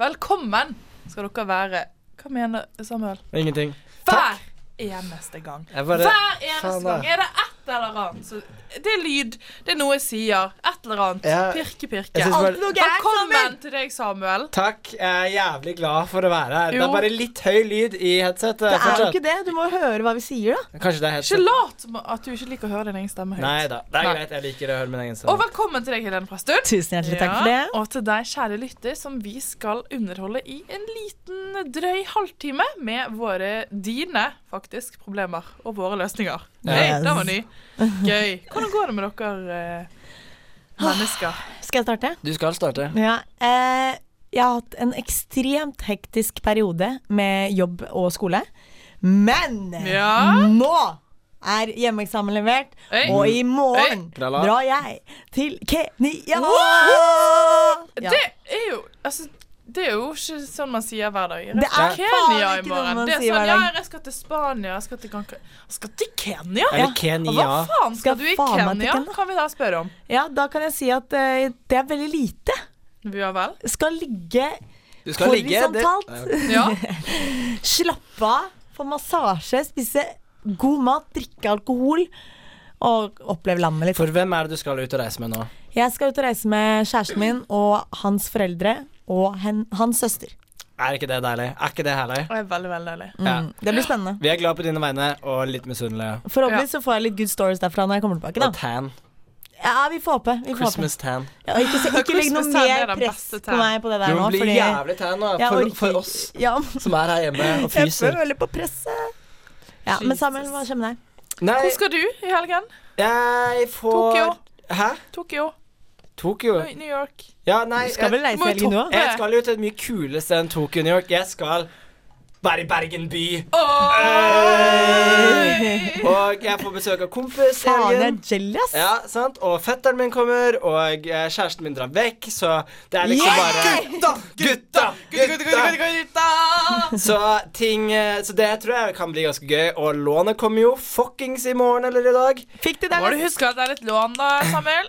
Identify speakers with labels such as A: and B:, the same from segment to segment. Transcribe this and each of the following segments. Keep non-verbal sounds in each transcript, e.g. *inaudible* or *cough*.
A: Velkommen skal dere være. Hva mener Samuel?
B: Ingenting.
A: Hver eneste gang.
B: Jeg bare
A: Hver eneste
B: Faen, da.
A: gang er det et eller annet. Så det er lyd, det er noe jeg sier. Et eller annet.
B: Ja.
A: Pirke, pirke.
B: Jeg synes bare-
C: Alt noe gærent,
A: Velkommen
C: Samuel.
A: til deg, Samuel.
B: Takk. Jeg er jævlig glad for å være her. Det
A: Jo.
B: er bare litt høy lyd i headsetet.
C: Det er jo
B: fortsatt.
C: ikke det. Du må jo høre hva vi sier, da.
B: Kanskje det
A: Ikke
B: er headset.
A: lat som at du ikke liker å høre din egen stemme høyt.
B: Nei da. Det er
A: Nei.
B: greit. Jeg liker å høre min egen
A: Og
B: stemme.
A: velkommen til deg, Helene Presthud.
C: Tusen
A: Ja, Og til deg, kjære lytter, som vi skal underholde i en liten drøy halvtime med våre, dine faktisk, problemer og våre løsninger. Nei,
C: Yes.
A: den var ny. Gøy. Hvordan går det med dere eh, mennesker?
C: Skal jeg starte?
B: Du skal starte.
C: Ja. Eh, jeg har hatt en ekstremt hektisk periode med jobb og skole. Men
A: Ja.
C: nå er hjemmeeksamen levert,
A: Hey.
C: og i morgen
B: Hey. Tralla.
C: drar jeg til Kenya! Ja.
A: Det er jo Altså, det er jo ikke sånn man sier hver dag. Jeg
C: Det
A: skal
C: er
A: til
C: faen
A: Kenya i
C: ikke
A: morgen.
C: noe man
A: Det er
C: sier
A: sånn,
C: hver
A: ja,
C: dag.
A: jeg skal til Spania, jeg skal til Gran Canaria Jeg skal til Kenya?
B: Eller
A: Og hva
B: Kenya.
A: faen skal,
C: Skal
A: du i
C: faen meg til
A: Kenya?
C: Kenya.
A: Kan vi da spørre om.
C: ja, da kan jeg si at eh, det er veldig lite.
A: Ja vel?
C: Skal ligge
B: Du skal ligge. Det.
C: horisontalt. *laughs*
A: Ja.
C: Slappe av, få massasje, spise god mat, drikke alkohol og oppleve landet litt.
B: For hvem er det du skal ut og reise med nå?
C: Jeg skal ut og reise med kjæresten min og hans foreldre og hen, hans søster.
B: Er ikke det deilig? Er ikke det herlig?
A: Det er veldig, veldig deilig.
C: Mm,
B: Ja.
C: Det blir spennende.
B: Vi er glad på dine vegne og litt misunnelige.
C: Forhåpentlig så får jeg litt good stories derfra når jeg kommer tilbake.
B: Og
C: da
B: tan.
C: Ja, vi får håpe. Vi får håpe.
B: Christmas tan.
C: Ja, og ikke, så- ikke legg noe
A: Christmas tan er
C: mer
A: den
C: press
A: beste
C: på
A: tan.
C: meg på det der
B: Du
C: nå.
B: blir
C: Fordi jeg
B: jævlig tan nå. For,
C: orker ikke-
B: for oss
C: Ja,
B: som er her hjemme og
C: *laughs* jeg
B: fryser.
C: føler veldig på presset. Ja, men Samuel, hva skjer med deg?
B: Nei,
A: Hvor skal du i helgen?
B: jeg får
A: Tokyo.
B: Hæ?
A: Tokyo,
B: Tokyo?
A: New New York.
B: Ja, nei
C: Du skal
B: jeg-
C: vel reise
A: må jo
C: i helgen du òg?
A: toppe-
B: Jeg skal jo til et mye kulere sted enn Tokyo, New York. Jeg skal være i Bergen by. Eh,
A: Oi!
B: Og jeg får besøk av kompis i
C: Faen, jeg er
B: helgen.
C: jelly, ass.
B: Ja, sant? Og fetteren min kommer, og eh, kjæresten min drar vekk, så det er liksom
C: Yeah!
B: bare Gutta!
A: Gutta, gutta, gutta, gutta, gutta!
B: Så ting eh, Så det tror jeg kan bli ganske gøy. Og lånet kommer jo fuckings i morgen eller i dag.
C: Fikk du det?
A: Må du huske at det er et lån, da, Samuel.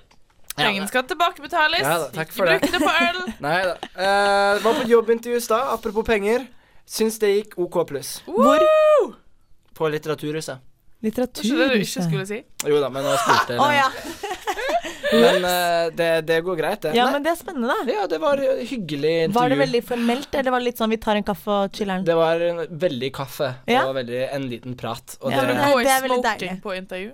A: Pengene skal tilbakebetales.
B: Ja da, takk for
A: ikke
B: det.
A: bruk det på
B: *laughs*
A: øl.
B: Nei da. Eh, var på jobbintervju i stad, apropos penger. Syns det gikk OK pluss
C: Hvor?
B: på Litteraturhuset.
A: Det er ikke det du ikke
C: Litteraturhuset.
A: skulle si.
B: Jo da, men jeg spurte.
C: Å ja.
B: Men eh, det, det går greit, det.
C: ja,
B: Nei,
C: men det er spennende, da.
B: ja, det var hyggelig intervju.
C: Var det veldig formelt, eller var det litt sånn vi tar en kaffe og chiller'n?
B: Det var en veldig kaffe
C: Ja.
B: og veldig en liten prat. Og
C: Ja,
B: det,
C: men
A: Gå i
C: det er veldig
A: smoking
C: deilig.
A: på intervju.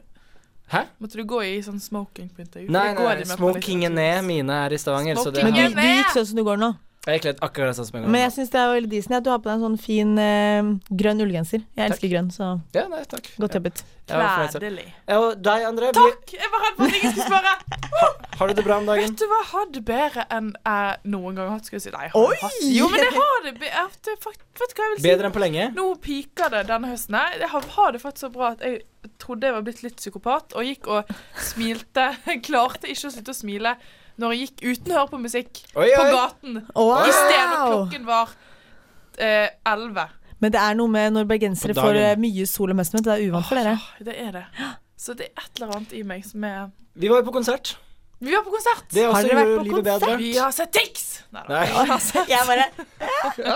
B: Hæ?
A: Måtte du gå i sånn smoking på intervju?
B: nei,
A: Det går
B: nei,
A: de med på
B: smokingen ned.
A: litteratur.
B: Mine er i Stavanger. Så det
C: Men du,
A: Smokingen.
B: er,
C: du gikk sånn som du går nå.
B: jeg er kledd akkurat sånn som jeg
C: Men
B: går.
C: jeg syns det er veldig decent at du har på deg en sånn fin eh, grønn ullgenser. Jeg elsker grønn, så
B: Ja, nei, takk.
C: godt jobbet.
B: Jeg var fornøyd selv.
A: Gledelig.
B: Ja, og deg, André. blir-
A: Takk! Jeg var redd for at ingen skulle
B: *laughs*
A: spørre.
B: Har du det bra om dagen?
A: Vet du hva jeg har det bedre enn jeg noen gang har hatt? Skulle jeg si. Nei, jeg har
C: Oi!
A: hatt. Jo, men jeg har det be- jeg har det fakt- Vet du hva jeg vil si?
B: Bedre enn på lenge?
A: Nå piker det denne høsten. her. Jeg har, har det faktisk så bra at jeg trodde jeg var blitt litt psykopat, og gikk og smilte. *laughs* Jeg klarte ikke å slutte å smile når jeg gikk uten å høre på musikk
B: Oi,
A: på
B: oi.
A: gaten. I sted når
C: Wow!
A: klokken var eh, elleve.
C: Men det er noe med når bergensere
B: På
C: får eh,
B: dagen.
C: mye sol og møstemøte. Det er uvant for dere.
A: det er det. Så det er et eller annet i meg som er
B: Vi var jo på konsert.
A: Vi var på konsert!
B: Det
C: Har
B: også
C: dere vært
B: gjorde
C: på
B: livet bedre.
A: Vi har sett Tix! Nei, da.
B: Nei.
C: *laughs* Jeg bare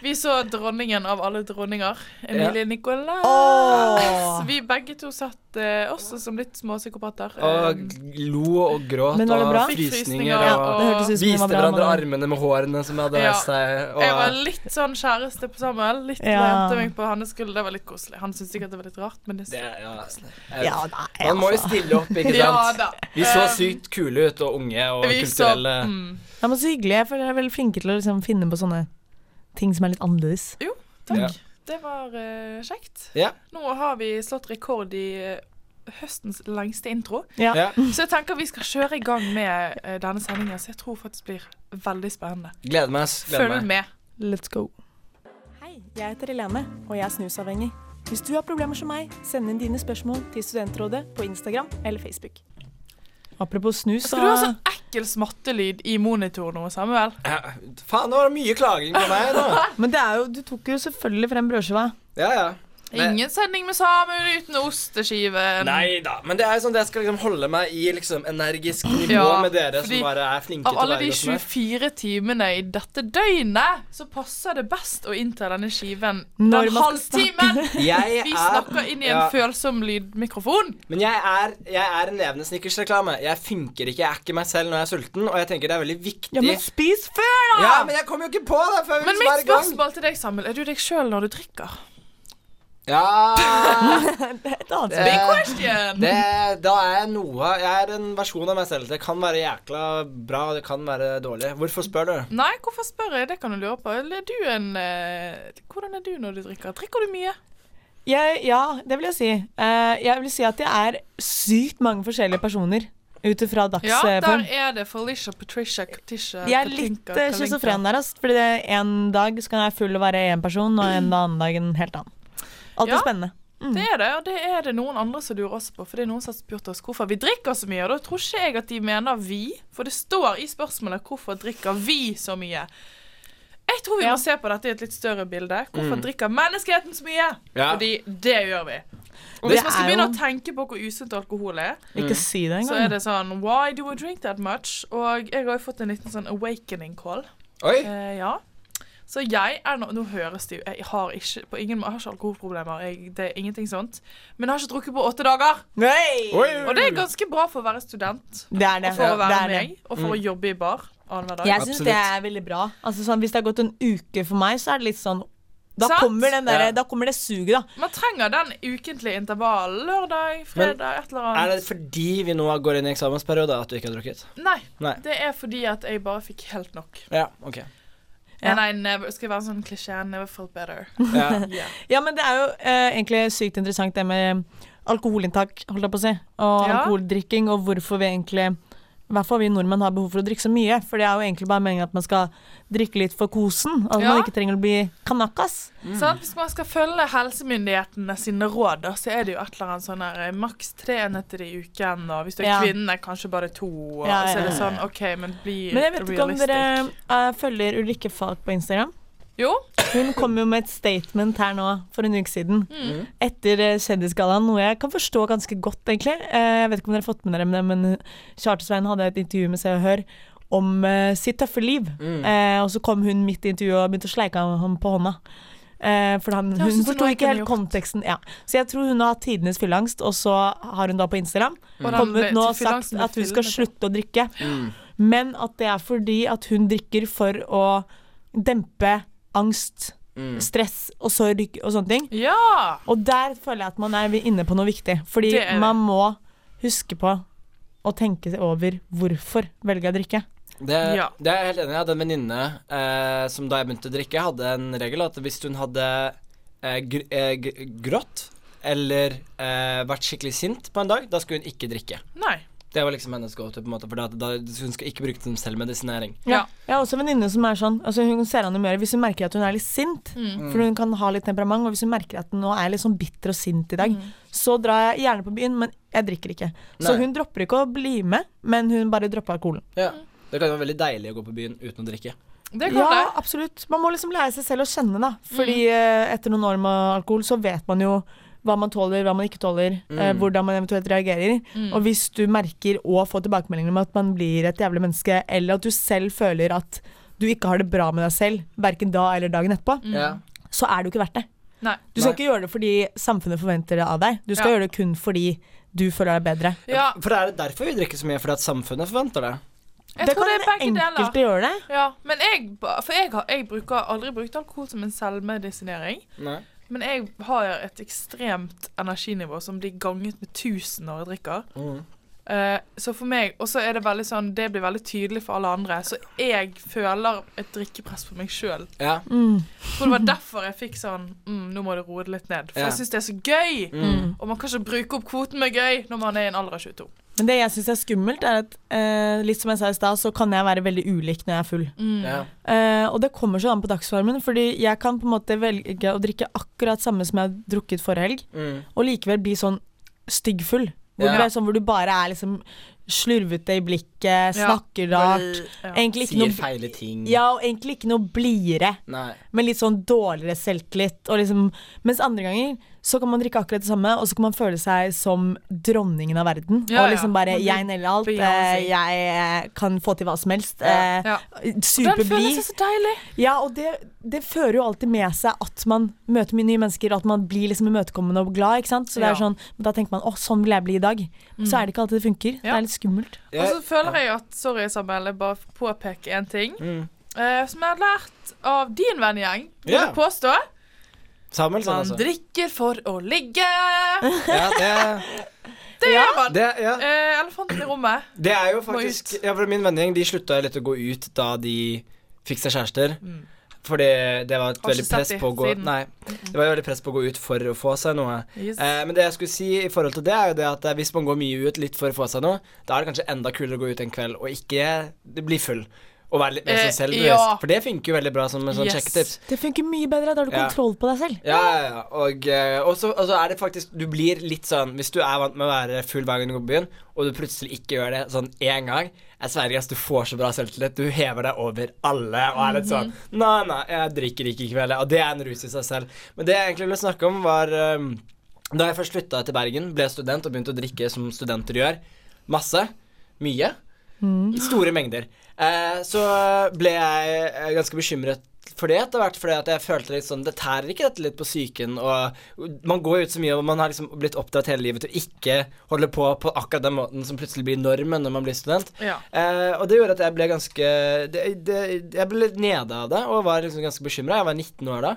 A: Vi så dronningen av alle dronninger, Emilie Nicolas.
C: Åh.
A: Vi begge to satt eh, også som litt små psykopater.
B: Og
A: Eh,
B: lo og gråt
C: Men var det
B: og
C: bra?
A: Fikk
B: frysninger.
A: frysninger,
B: Og
C: Det hørtes ut som det
B: viste
C: var bra.
B: hverandre
C: mandag.
B: armene med hårene som hadde
A: Ja.
B: reist seg.
A: Jeg var
B: Og
A: litt sånn kjæreste på Samuel. Litt
C: Ja.
A: lente meg på hans skulder. Det var litt koselig. Han syntes sikkert det var litt rart, men det
B: det, ja. altså, Jeg-
C: Ja, nei,
B: Man må jo
C: altså.
B: stille opp,
A: *laughs*
B: ikke sant?
A: Ja da.
B: Vi så
A: Eh,
B: sykt kule ut, og unge og
A: vi så-
B: kulturelle.
A: mm,
C: Ja, men så hyggelig. Jeg føler dere er veldig flinke til å liksom, finne på sånne ting som er litt annerledes.
A: takk.
B: Ja.
A: Det var eh, kjekt.
B: Ja.
A: Nå har vi slått rekord i eh, høstens lengste intro.
C: Ja.
B: Ja.
A: Så jeg tenker vi skal kjøre i gang med eh, denne sendingen, så jeg tror faktisk blir veldig spennende.
B: Gleder meg. ass. Gleder
A: Følg
B: meg.
A: med.
C: Let's go. Hei, jeg heter Helene, og jeg er snusavhengig. Hvis du har problemer som meg, send inn dine spørsmål til Studentrådet på Instagram eller Facebook. Apropos snus,
A: Skal du ha sånn ekkel smattelyd i monitor nå, Samuel?
B: Ja.
A: *laughs*
B: Faen, nå var det mye klaging på meg nå.
C: Men det er jo, du tok jo selvfølgelig frem brødskiva.
B: Ja, ja. Men-
A: Ingen sending med Samuel uten osteskive.
B: Nei da, men det er sånn at jeg skal liksom holde meg i liksom energisk nivå
A: Ja,
B: med dere
A: fordi
B: som bare er flinke
A: Av
B: til å
A: alle
B: være
A: de
B: godt
A: 24
B: humør.
A: timene i dette døgnet, så passer det best å innta denne skiven
C: Når
A: den
C: man skal
A: halvtimen *laughs*
B: Jeg
A: vi
B: er-
A: snakker inn i en
B: ja,
A: følsom lydmikrofon.
B: Men jeg er, jeg er en levende snickersreklame. Jeg funker ikke, jeg er ikke meg selv når jeg er sulten, og jeg tenker det er veldig viktig
C: Ja, men spis før, da!
B: Ja, men jeg kom jo ikke på det før vi
A: Men
B: liksom
A: mitt
B: var i gang.
A: spørsmål til deg, Samuel, er du deg sjøl når du drikker? *laughs*
B: Ja
C: Det er et annet
B: det,
C: spørsmål.
A: Question!
B: Eh, det, Da er jeg noe Jeg er en versjon av meg selv. Det kan være jækla bra, og det kan være dårlig. Hvorfor spør du?
A: Nei, hvorfor spør jeg? Det kan du lure på. Eller Er du en eh, Hvordan er du når du drikker? Drikker du mye?
C: Jeg, ja, det vil jeg si. Eh, jeg vil si at jeg er sykt mange forskjellige personer ut ifra
A: Ja, der
C: dagsform.
A: er det Felicia Patricia Katisha
C: jeg er litt eh, schizofren der, altså. Fordi det er en dag så kan jeg være full og være én person, og
A: *clears throat*
C: en annen dag en helt annen. Alltid
A: Ja.
C: spennende.
A: Det er det, og det er det noen andre som lurer også på. For det er noen som har spurt oss hvorfor vi drikker så mye. Og da tror ikke jeg at de mener vi, for det står i spørsmålet hvorfor drikker vi så mye. Jeg tror vi
C: Ja. Mm.
A: må se på dette i et litt større bilde. Hvorfor drikker menneskeheten så mye?
B: Ja.
A: Fordi det gjør vi. Og
C: Det
A: hvis man skal
C: er
A: begynne
C: jo-
A: å tenke på hvor usunt alkohol er,
C: Ikke
B: Mm.
C: si det
A: så
C: engang.
A: er det sånn Why do we drink that much? Og jeg har jo fått en liten sånn awakening call.
B: Oi.
A: Eh, ja. Så jeg er nå Nå høres det jo Jeg har ikke, på ingen, jeg har ikke alkoholproblemer. Jeg, det er ingenting sånt. Men jeg har ikke drukket på åtte dager.
B: Oi.
A: Og det er ganske bra for å være student,
C: Det er det.
A: for å
C: Mm. Ja, det
A: være
C: er det. Mm.
A: meg, og for å jobbe i bar annenhver dag.
C: Jeg syns
B: Absolutt.
C: det er veldig bra. Altså, sånn, hvis det har gått en uke for meg, så er det litt sånn Da,
A: Sant?
C: kommer, den der,
B: Ja.
C: da kommer det suget, da.
A: Man trenger den ukentlige intervallen. Lørdag, fredag, et eller
B: Er
A: annet.
B: det fordi vi nå går inn i eksamensperiode at du ikke har drukket?
A: Nei.
B: Nei.
A: Det er fordi at jeg bare fikk helt nok.
B: Ja, ok.
C: Ja.
A: And I never, skal jeg være en sånn klisjé? I Never felt better.
B: Ja.
A: Yeah.
C: Ja, men det er jo eh, egentlig sykt interessant det med alkoholinntak, holdt jeg på å si, og
A: Ja.
C: alkoholdrikking, og hvorfor vi egentlig i hvert fall vi nordmenn har behov for å drikke så mye. For det er jo egentlig bare meningen at man skal drikke litt for kosen. At
A: Ja.
C: man ikke trenger å bli kanakas.
A: Sant? hvis man skal følge helsemyndighetene sine råd, da, så er det jo et eller annet sånn her eh, maks tre enheter i uken, og hvis du er
C: Ja.
A: kvinne, kanskje bare to. Og
C: Ja,
A: Så er det
C: ja,
A: sånn, OK, men bli
C: Men jeg vet ikke om
A: realistic.
C: dere eh, følger Ulrikke Falk på Instagram.
A: Jo,
C: Hun kom jo med et statement her nå for en uke siden.
A: Mm.
C: Etter eh, Kjendisgallaen, noe jeg kan forstå ganske godt, egentlig. Eh, Jeg vet ikke om dere har fått med dere det, men Charter-Svein hadde et intervju med Se og Hør om eh, sitt tøffe liv.
A: Mm.
C: Eh, og så kom hun midt i intervjuet og begynte å sleike ham- ham på hånda. Eh, for han,
A: Det høres ut
C: hun
A: som noe
C: forsto
A: jeg
C: ikke
A: kunne
C: helt
A: gjort.
C: konteksten. Ja. Så jeg tror hun har hatt tidenes fylleangst, og så har hun da på Instagram
A: Og den ble
C: kommet nå
A: til
C: og sagt
A: fylleangsten ble
C: at hun skal
A: filmet, ja.
C: slutte å drikke. Men at det er fordi at hun drikker for å dempe angst, stress og sorg og sånne ting.
A: Ja!
C: Og der føler jeg at man er inne på noe viktig. Fordi
A: Det er det.
C: man må huske på å tenke seg over hvorfor velger jeg å drikke.
B: Det,
A: Ja.
B: det er jeg helt enig i. Jeg hadde en venninne eh, som da jeg begynte å drikke, hadde en regel at hvis hun hadde eh, gr eh, gr grått eller eh, vært skikkelig sint på en dag, da skulle hun ikke drikke.
A: Nei.
B: Det var liksom hennes go-to, på en måte, for da, da, hun skal ikke bruke det som selvmedisinering.
A: Ja.
C: Jeg har også en venninne som er sånn altså Hun ser an i humøret hvis hun merker at hun er litt sint. For hun kan ha litt temperament, og hvis hun merker at hun nå er litt sånn bitter og sint i dag, så drar jeg gjerne på byen, men jeg drikker ikke. Så
B: Nei.
C: hun dropper ikke å bli med, men hun bare dropper alkoholen.
B: Ja. Mm. Det kan jo være veldig deilig å gå på byen uten å drikke.
A: Det kan Mm.
C: Ja,
A: det.
C: absolutt. Man må liksom lære seg selv å kjenne, da. Fordi eh, etter noen år med alkohol så vet man jo hva man tåler, hva man ikke tåler, eh,
A: Mm.
C: hvordan man eventuelt reagerer. Og hvis du merker og får tilbakemeldinger om at man blir et jævlig menneske, eller at du selv føler at du ikke har det bra med deg selv, verken da eller dagen etterpå,
B: Ja.
C: så er det jo ikke verdt det.
A: Mm. Nei.
C: Du skal
B: Nei.
C: ikke gjøre det fordi samfunnet forventer det av deg. Du skal
A: Ja.
C: gjøre det kun fordi du føler deg bedre.
A: Ja,
B: For er det derfor vi drikker så mye? Fordi at samfunnet forventer det?
A: jeg tror det er begge
C: enkelte
A: deler.
C: gjøre det.
A: Ja, men jeg, ba- for jeg har jeg bruker, aldri brukt alkohol som en selvmedisinering.
B: Nei.
A: Men jeg har et ekstremt energinivå som blir ganget med 1000 når jeg drikker.
B: Mm.
A: Eh, så for meg, Og så er det veldig sånn, det blir veldig tydelig for alle andre. Så jeg føler et drikkepress på meg sjøl.
B: Ja.
C: Mm.
A: Det
B: *laughs*
A: var derfor jeg fikk sånn mm, Nå må du roe det litt ned. For
B: Ja.
A: jeg syns det er så gøy.
B: Mm.
C: Mm.
A: Og man kan ikke bruke opp kvoten med gøy når man er i en alder av 22.
C: Men det jeg syns er skummelt, er at eh, litt som jeg sa i stad, så kan jeg være veldig ulik når jeg er full.
A: Mm.
B: ja.
C: Eh, og det kommer så an på dagsformen, fordi jeg kan på en måte velge å drikke akkurat samme som jeg har drukket forrige helg,
B: Mm.
C: og likevel bli sånn styggfull. Hvor,
B: Ja.
C: du er sånn, hvor du bare er liksom slurvete i blikket,
A: Ja.
C: snakker rart.
A: Ja.
C: Egentlig ikke
B: Sier
C: noe
B: feile ting.
C: ja, og egentlig ikke noe blidere,
B: Nei.
C: men litt sånn dårligere selvtillit. Og liksom, mens andre ganger så kan man drikke akkurat det samme, og så kan man føle seg som dronningen av verden.
A: Ja, ja.
C: og liksom bare
A: Man blir
C: Jeg neller alt. eh,
A: Beyoncé.
C: Jeg eh, kan få til hva som helst.
B: Ja.
C: eh,
A: Ja. Den
C: Superblid.
A: føles så deilig.
C: Ja, og det, det fører jo alltid med seg at man møter mye nye mennesker, at man blir liksom imøtekommende og glad. ikke sant? Så det
A: Ja. Mm.
C: er sånn, Da tenker man 'å, sånn vil jeg bli i dag'. Så er det ikke alltid det funker. Det
A: Ja.
C: er litt skummelt.
A: Og så føler jeg at Sorry, Isabel, jeg bare påpeker én ting.
B: Mm.
A: eh, som jeg har lært av din vennegjeng, vil
B: Ja.
A: jeg påstå.
B: Samuelsen,
A: Man
B: altså.
A: drikker for å ligge.
B: *laughs* Ja, det,
A: Det gjør man.
B: det, ja.
A: Eh, elefanten i rommet.
B: det er jo
A: Må
B: faktisk
A: ut.
B: ja, for Min vennegjeng de slutta litt å gå ut da de fikk seg kjærester. Fordi det var
A: Mm. Har
B: et
A: ikke
B: veldig
A: sett
B: press
A: de
B: på å gå
A: siden.
B: Nei, det var jo veldig press på å gå ut for å få seg noe.
A: Yes.
B: Eh, men det jeg skulle si i forhold til det, er jo det at eh, hvis man går mye ut litt for å få seg noe, da er det kanskje enda kulere å gå ut en kveld og ikke bli full. Og være litt mer
A: Eh,
B: seg selv. du
A: ja.
B: vet. For det funker jo veldig bra som en sånn
A: Yes.
B: sjekketips.
C: Det funker mye bedre. Da har du
B: Ja.
C: kontroll på deg selv.
B: Ja, ja, ja. Og, eh, og så og så er det faktisk Du blir litt sånn Hvis du er vant med å være full hver gang du går på byen, og du plutselig ikke gjør det sånn én gang Jeg sverger, ass, du får så bra selvtillit. Du hever deg over alle og er litt sånn Nei, nei, jeg drikker ikke i kveld. jeg», Og det er en rus i seg selv. Men det jeg egentlig ville snakke om, var eh, Da jeg først flytta til Bergen, ble student og begynte å drikke som studenter gjør, masse, mye, i store mengder, eh, så ble jeg eh, ganske bekymret for det etter hvert, fordi at jeg følte litt sånn Det tærer ikke dette litt på psyken, og man går ut så mye, og man har liksom blitt oppdratt hele livet til å ikke holde på på akkurat den måten som plutselig blir normen når man blir student.
A: Ja.
B: Eh, og det gjorde at jeg ble ganske det, det, Jeg ble litt nede av det og var liksom ganske bekymra. Jeg var 19 år da.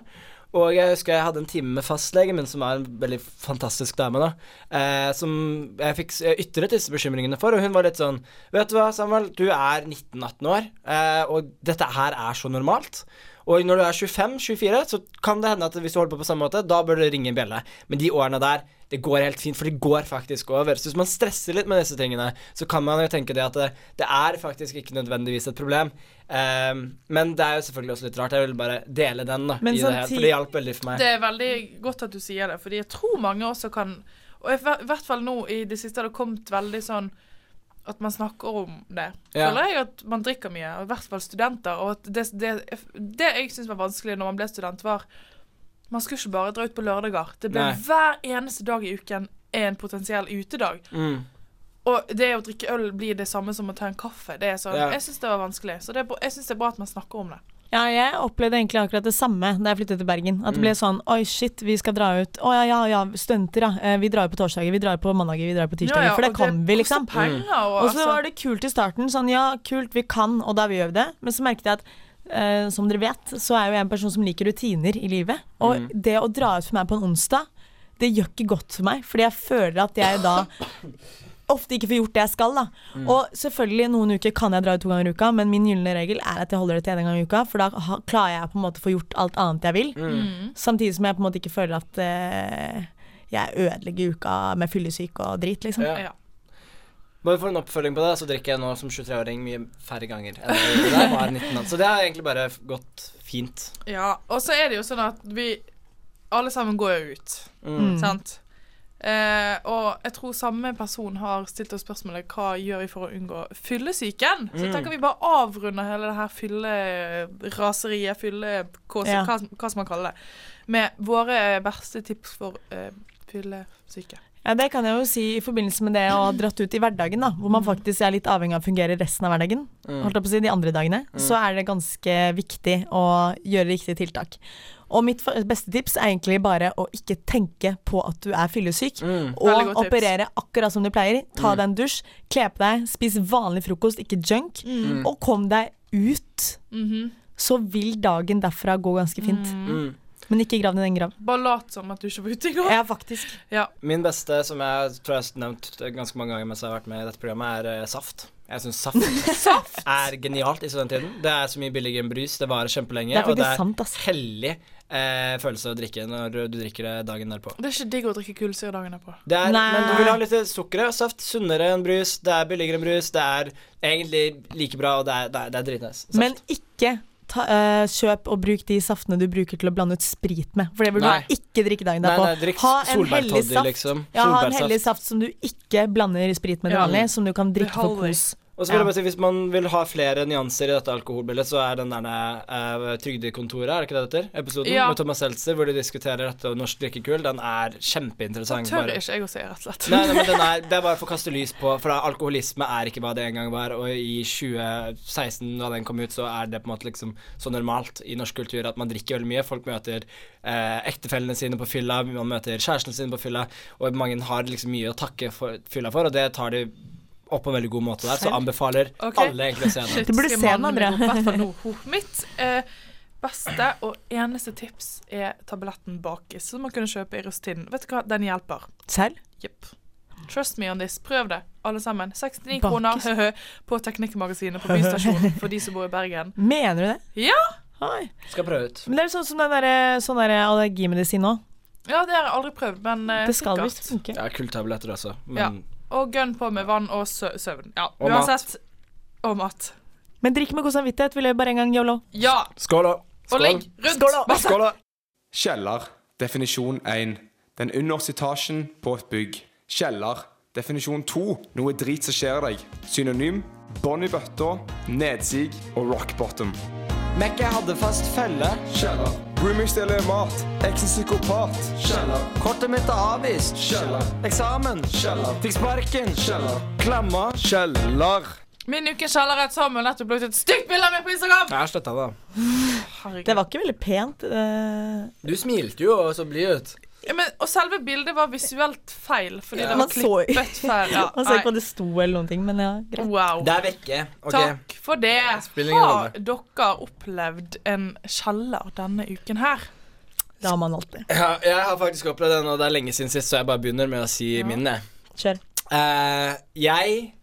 B: Og jeg husker jeg hadde en time med fastlegen min, som er en veldig fantastisk dame, da. Eh, som jeg fikk s- jeg ytret disse bekymringene for, og hun var litt sånn Vet du hva, Samuel, du er 19-18 år, eh, og dette her er så normalt. Og når du er 25-24, så kan det hende at hvis du holder på på samme måte, da bør det ringe en bjelle. Men de årene der, det går helt fint, for det går faktisk over. Så hvis man stresser litt med disse tingene, så kan man jo tenke det at det, det er faktisk ikke nødvendigvis et problem. Ehm, men det er jo selvfølgelig også litt rart. Jeg vil bare dele den, da.
C: Men
B: i det her,
C: samtid-
B: for det hjalp veldig for meg.
A: Det er veldig godt at du sier det, fordi jeg tror mange også kan Og i hver- hvert fall nå i det siste har det kommet veldig sånn at man snakker om det.
B: Ja.
A: Føler jeg at man drikker mye, og i hvert fall studenter. Og at det, det, det jeg syns var vanskelig når man ble student, var Man skulle ikke bare dra ut på lørdager. Det ble
B: Nei.
A: hver eneste dag i uken en potensiell utedag.
B: Mm.
A: Og det å drikke øl blir det samme som å ta en kaffe. Det er sånn,
B: Ja.
A: Jeg syns det var vanskelig. Så det er, bra- jeg syns det er bra at man snakker om det.
C: Ja, jeg opplevde egentlig akkurat det samme da jeg flyttet til Bergen. At det ble sånn oi, shit, vi skal dra ut. Å ja, ja, ja, studenter, ja. Eh, Vi drar jo på torsdager, vi drar på mandager, vi drar på tirsdager. for det
A: og
C: kan vi, liksom.
A: koster Penger, og, altså-
C: Og så var det kult i starten. Sånn, ja, kult, vi kan, og da gjør vi det. Men så merket jeg at eh, som dere vet, så er jo jeg en person som liker rutiner i livet. Og det å dra ut for meg på en onsdag, det gjør ikke godt for meg. Fordi jeg føler at jeg da ofte ikke får gjort det jeg skal. da. Og selvfølgelig, noen uker kan jeg dra ut to ganger i uka, men min gylne regel er at jeg holder det til én gang i uka, for da ha, klarer jeg på en måte å få gjort alt annet jeg vil.
B: mm.
C: Samtidig som jeg på en måte ikke føler at eh, jeg ødelegger uka med fyllesyke og drit, liksom.
B: Ja.
A: ja.
B: Bare for en oppfølging på det, så drikker jeg nå som 23-åring mye færre ganger enn jeg gjorde da jeg var 19 år. Så det har egentlig bare f- gått fint.
A: Ja, og så er det jo sånn at vi alle sammen går jo ut,
C: Mm.
A: sant? Eh, og jeg tror samme person har stilt oss spørsmålet hva gjør vi for å unngå fyllesyken?
C: Mm.
A: Så jeg tenker vi bare avrunder hele det her fylleraseriet, fyllekåse,
C: Ja.
A: hva, hva skal man kalle det, med våre verste tips for eh, fyllesyke.
C: Ja, Det kan jeg jo si i forbindelse med det å ha dratt ut i hverdagen, da, hvor man faktisk er litt avhengig av å fungere resten av hverdagen. Holdt jeg på å si de andre dagene, Så er det ganske viktig å gjøre riktige tiltak. Og mitt fa- beste tips er egentlig bare å ikke tenke på at du er fyllesyk,
A: Veldig
C: og
A: godt tips.
C: operere akkurat som du pleier. Ta deg en dusj, kle på deg, spis vanlig frokost, ikke junk, og kom deg ut. Så vil dagen derfra gå ganske fint.
B: Mm.
C: Men ikke grav din egen grav.
A: Bare lat som at du ikke var ute i går.
C: Ja, *laughs* faktisk.
A: Ja.
B: Min beste, som jeg tror jeg har nevnt ganske mange ganger mens jeg har vært med i dette programmet, er eh, saft. Jeg syns
C: *laughs*
B: saft
A: Saft!
B: er genialt i studenttiden. Det er så mye billigere enn brus. Det varer kjempelenge.
C: Det er
B: og det
C: faktisk
B: er
C: sant, ass.
B: hellig eh, følelse å drikke når du drikker det dagen derpå.
A: Det er ikke digg å drikke kullsyre dagen derpå.
B: Det er,
C: Nei.
B: men du vil ha litt sukker og saft. Sunnere enn brus. Det er billigere enn brus. Det er egentlig like bra, og det er, det er, det er dritnice. Saft.
C: Men ikke ta, eh, kjøp og bruk de saftene du bruker til å blande ut sprit med. For det burde
B: Nei.
C: du ikke drikke dagen
B: Nei,
C: derpå.
B: nei, drikk
C: ha en
B: solbærtoddy,
C: hellig saft.
B: liksom.
C: Ja, ha en
B: Solbærsaft.
C: hellig saft som du ikke blander sprit med det
A: Ja.
C: vanlige, som du kan drikke for
A: Beholder.
C: kos.
B: Og så vil
C: Ja.
B: jeg bare si, Hvis man vil ha flere nyanser i dette alkoholbildet, så er den der eh, Trygdekontoret, er det ikke det det heter? Episoden
A: Ja.
B: med Thomas Seltzer hvor de diskuterer dette og norsk drikkekull, den er kjempeinteressant.
A: Tør
B: bare.
A: ikke jeg å si, rett og slett.
B: Nei, nei, men den er, Det er bare for å kaste lys på, for da, alkoholisme er ikke hva det en gang var. Og i 2016, da den kom ut, så er det på en måte liksom så normalt i norsk kultur at man drikker veldig mye. Folk møter eh, ektefellene sine på fylla, man møter kjærestene sine på fylla, og mange har liksom mye å takke for, fylla for, og det tar de opp på en veldig god måte der, så anbefaler
A: Ok.
B: alle egentlig å se den.
A: Shit,
C: Du burde
A: skal
C: se den,
A: mannen min
C: Andrea.
A: opp, hvertfall nå. Ho- Mitt eh, beste og eneste tips er tabletten Bakis, som man kunne kjøpe i rusttiden. Vet du hva, den hjelper.
C: Serr?
A: Jepp. Trust me on this. Prøv det, alle sammen. 69
C: Bakis.
A: kroner høhø, på Teknikkmagasinet på Bystasjonen for de som bor i Bergen.
C: Mener du det?
A: Ja!
C: Oi.
B: Skal prøve ut.
C: Men det er sånn som den der, sånn der allergimedisin òg.
A: Ja, det har jeg aldri prøvd, men eh,
C: Det skal visst
A: sikkert.
C: funke.
B: Ja, kulltabletter også, men
A: Ja. Og gønn på med vann og sø søvn. Ja,
B: Og mat.
A: uansett. Og mat.
C: Men drikk med god samvittighet, vil jeg bare en gang yolo.
A: Ja!
B: Skål, da!
A: Og ligg rundt.
B: da! Skål, da!
D: Kjeller. Definisjon 1. Den underste etasjen på et bygg. Kjeller. Definisjon 2. Noe drit som skjer deg. Synonym bånd i bøtta, nedsig og rock bottom.
B: Mekka hadde fast felle.
D: Kjeller. Roomies deler mat. Eksen psykopat. Kjeller.
B: Kortet mitt er avvist.
D: Kjeller.
B: Eksamen.
D: Kjeller.
B: Fikk sparken.
D: Kjeller.
B: Klemma.
D: Kjeller.
A: Min ukens kjeller er at Samuel nettopp la ut et stygt bilde av meg på Instagram!
B: Jeg har sletta det. da.
C: Det
A: Herregud.
C: var ikke veldig pent. eh,
B: Du smilte jo og så blid ut.
A: Ja, men, og selve bildet var visuelt feil, fordi
B: Ja.
A: det
C: Man
A: var
C: så-
A: klippet feil. Ja,
C: *laughs* Man ser ikke hva det sto eller noen ting, men ja,
A: nei.
C: greit.
A: Wow.
B: Det er vekke. Ok.
A: Takk for det.
B: Spiller ingen
A: Har dere opplevd en kjeller denne uken her?
C: Det har man alltid.
B: Ja, jeg har faktisk opplevd den, og det er lenge siden sist, så jeg bare begynner med å si min. jeg.
C: Kjør.
B: Eh, jeg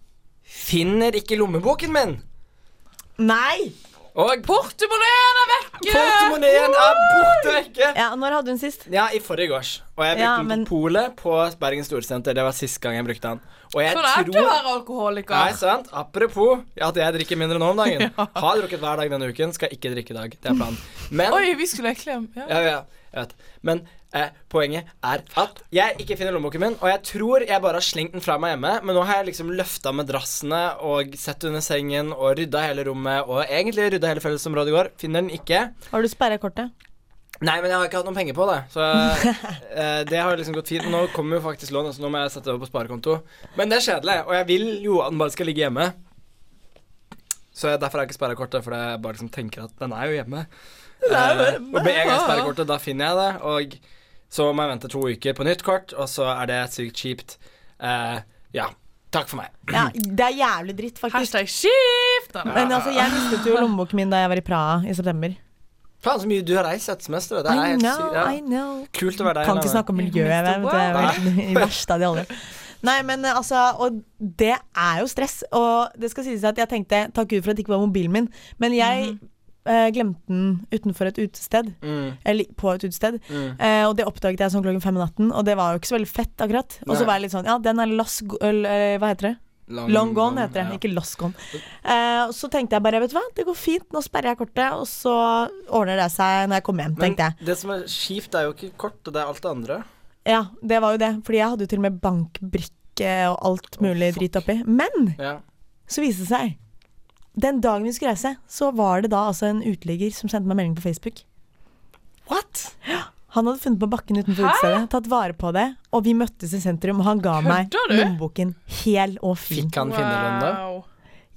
B: finner ikke lommeboken min.
C: Nei!
B: Og
A: Portemoneen er vekke!
B: portemoneen er borte vekke.
C: Ja, når hadde hun sist?
B: Ja, i forrige gårs. Og jeg brukte
C: Ja,
B: den
C: men-
B: på polet på Bergen Storsenter. Det var sist gang jeg brukte den. Og jeg
A: Sånn er det å
B: tror
A: være
B: Nei,
A: alkoholiker.
B: sant. Apropos at jeg drikker mindre nå om
A: *laughs*
B: dagen. Har drukket hver dag denne uken, skal ikke drikke i dag. Det er planen. Men
A: Oi, vi skulle egentlig ja.
B: Ja, ja, jeg vet. Men eh, poenget er at jeg ikke finner lommeboken min, og jeg tror jeg bare har slengt den fra meg hjemme, men nå har jeg liksom løfta madrassene og sett under sengen og rydda hele rommet, og egentlig rydda hele fellesområdet i går. Finner den ikke.
C: Har du
B: *clears throat*
C: sperra kortet?
B: Nei, men jeg har ikke hatt noen penger på det,
C: *laughs*
B: så eh, det har liksom gått fint. Men nå kommer jo faktisk lån, så nå må jeg sette det over på sparekonto. Men det er kjedelig, og jeg vil jo at den bare skal ligge hjemme. Så jeg, derfor har jeg ikke sperrekortet, for jeg bare liksom tenker at den er jo hjemme. Eh, og med
C: *laughs*
B: en gang sperrekortet, da finner jeg det, og så må jeg vente to uker på nytt kort, og så er det sykt kjipt. Eh, ja. Takk for meg.
C: Ja, det er jævlig dritt, faktisk.
A: Hashtag skift! Nei, nei.
C: Men altså, jeg mistet jo lommeboken min da jeg var i Praha i september.
B: Faen, så mye du har reist dette semesteret. Det er
C: I
B: helt
C: know,
B: sykt. Ja.
C: I know.
B: Kult å være der.
C: Kan ikke snakke om miljøet. Jeg vet, det er vel det verste av de alle. Nei, men eh, altså Og det er jo stress. Og det skal sies at jeg tenkte takk Gud for at det ikke var mobilen min, men jeg eh, glemte den utenfor et utested.
B: Mm.
C: Eller på et utested. Eh, og det oppdaget jeg sånn klokken fem om natten, og det var jo ikke så veldig fett, akkurat. Og
B: Nei.
C: så var jeg litt sånn Ja, den er loss... Eller eh, hva heter det? Long gone heter det, ikke lost gone. Eh, og så tenkte jeg bare, vet du hva, det går fint, nå sperrer jeg kortet, og så ordner det seg når jeg kommer hjem, tenkte jeg.
B: Men det som er kjipt, er jo ikke kort, og det er alt det andre.
C: Ja, det var jo det, fordi jeg hadde jo til og med bankbrikke og alt mulig
B: fuck.
C: drit oppi. Men
B: Ja.
C: så viste det seg, den dagen vi skulle reise, så var det da altså en uteligger som sendte meg melding på Facebook.
B: What?
C: Han hadde funnet på bakken utenfor utestedet, tatt vare på det, og vi møttes i sentrum, og han ga meg
A: Kødder du?
C: lommeboken hel og fin.
B: Fikk han finne den da?
A: Wow.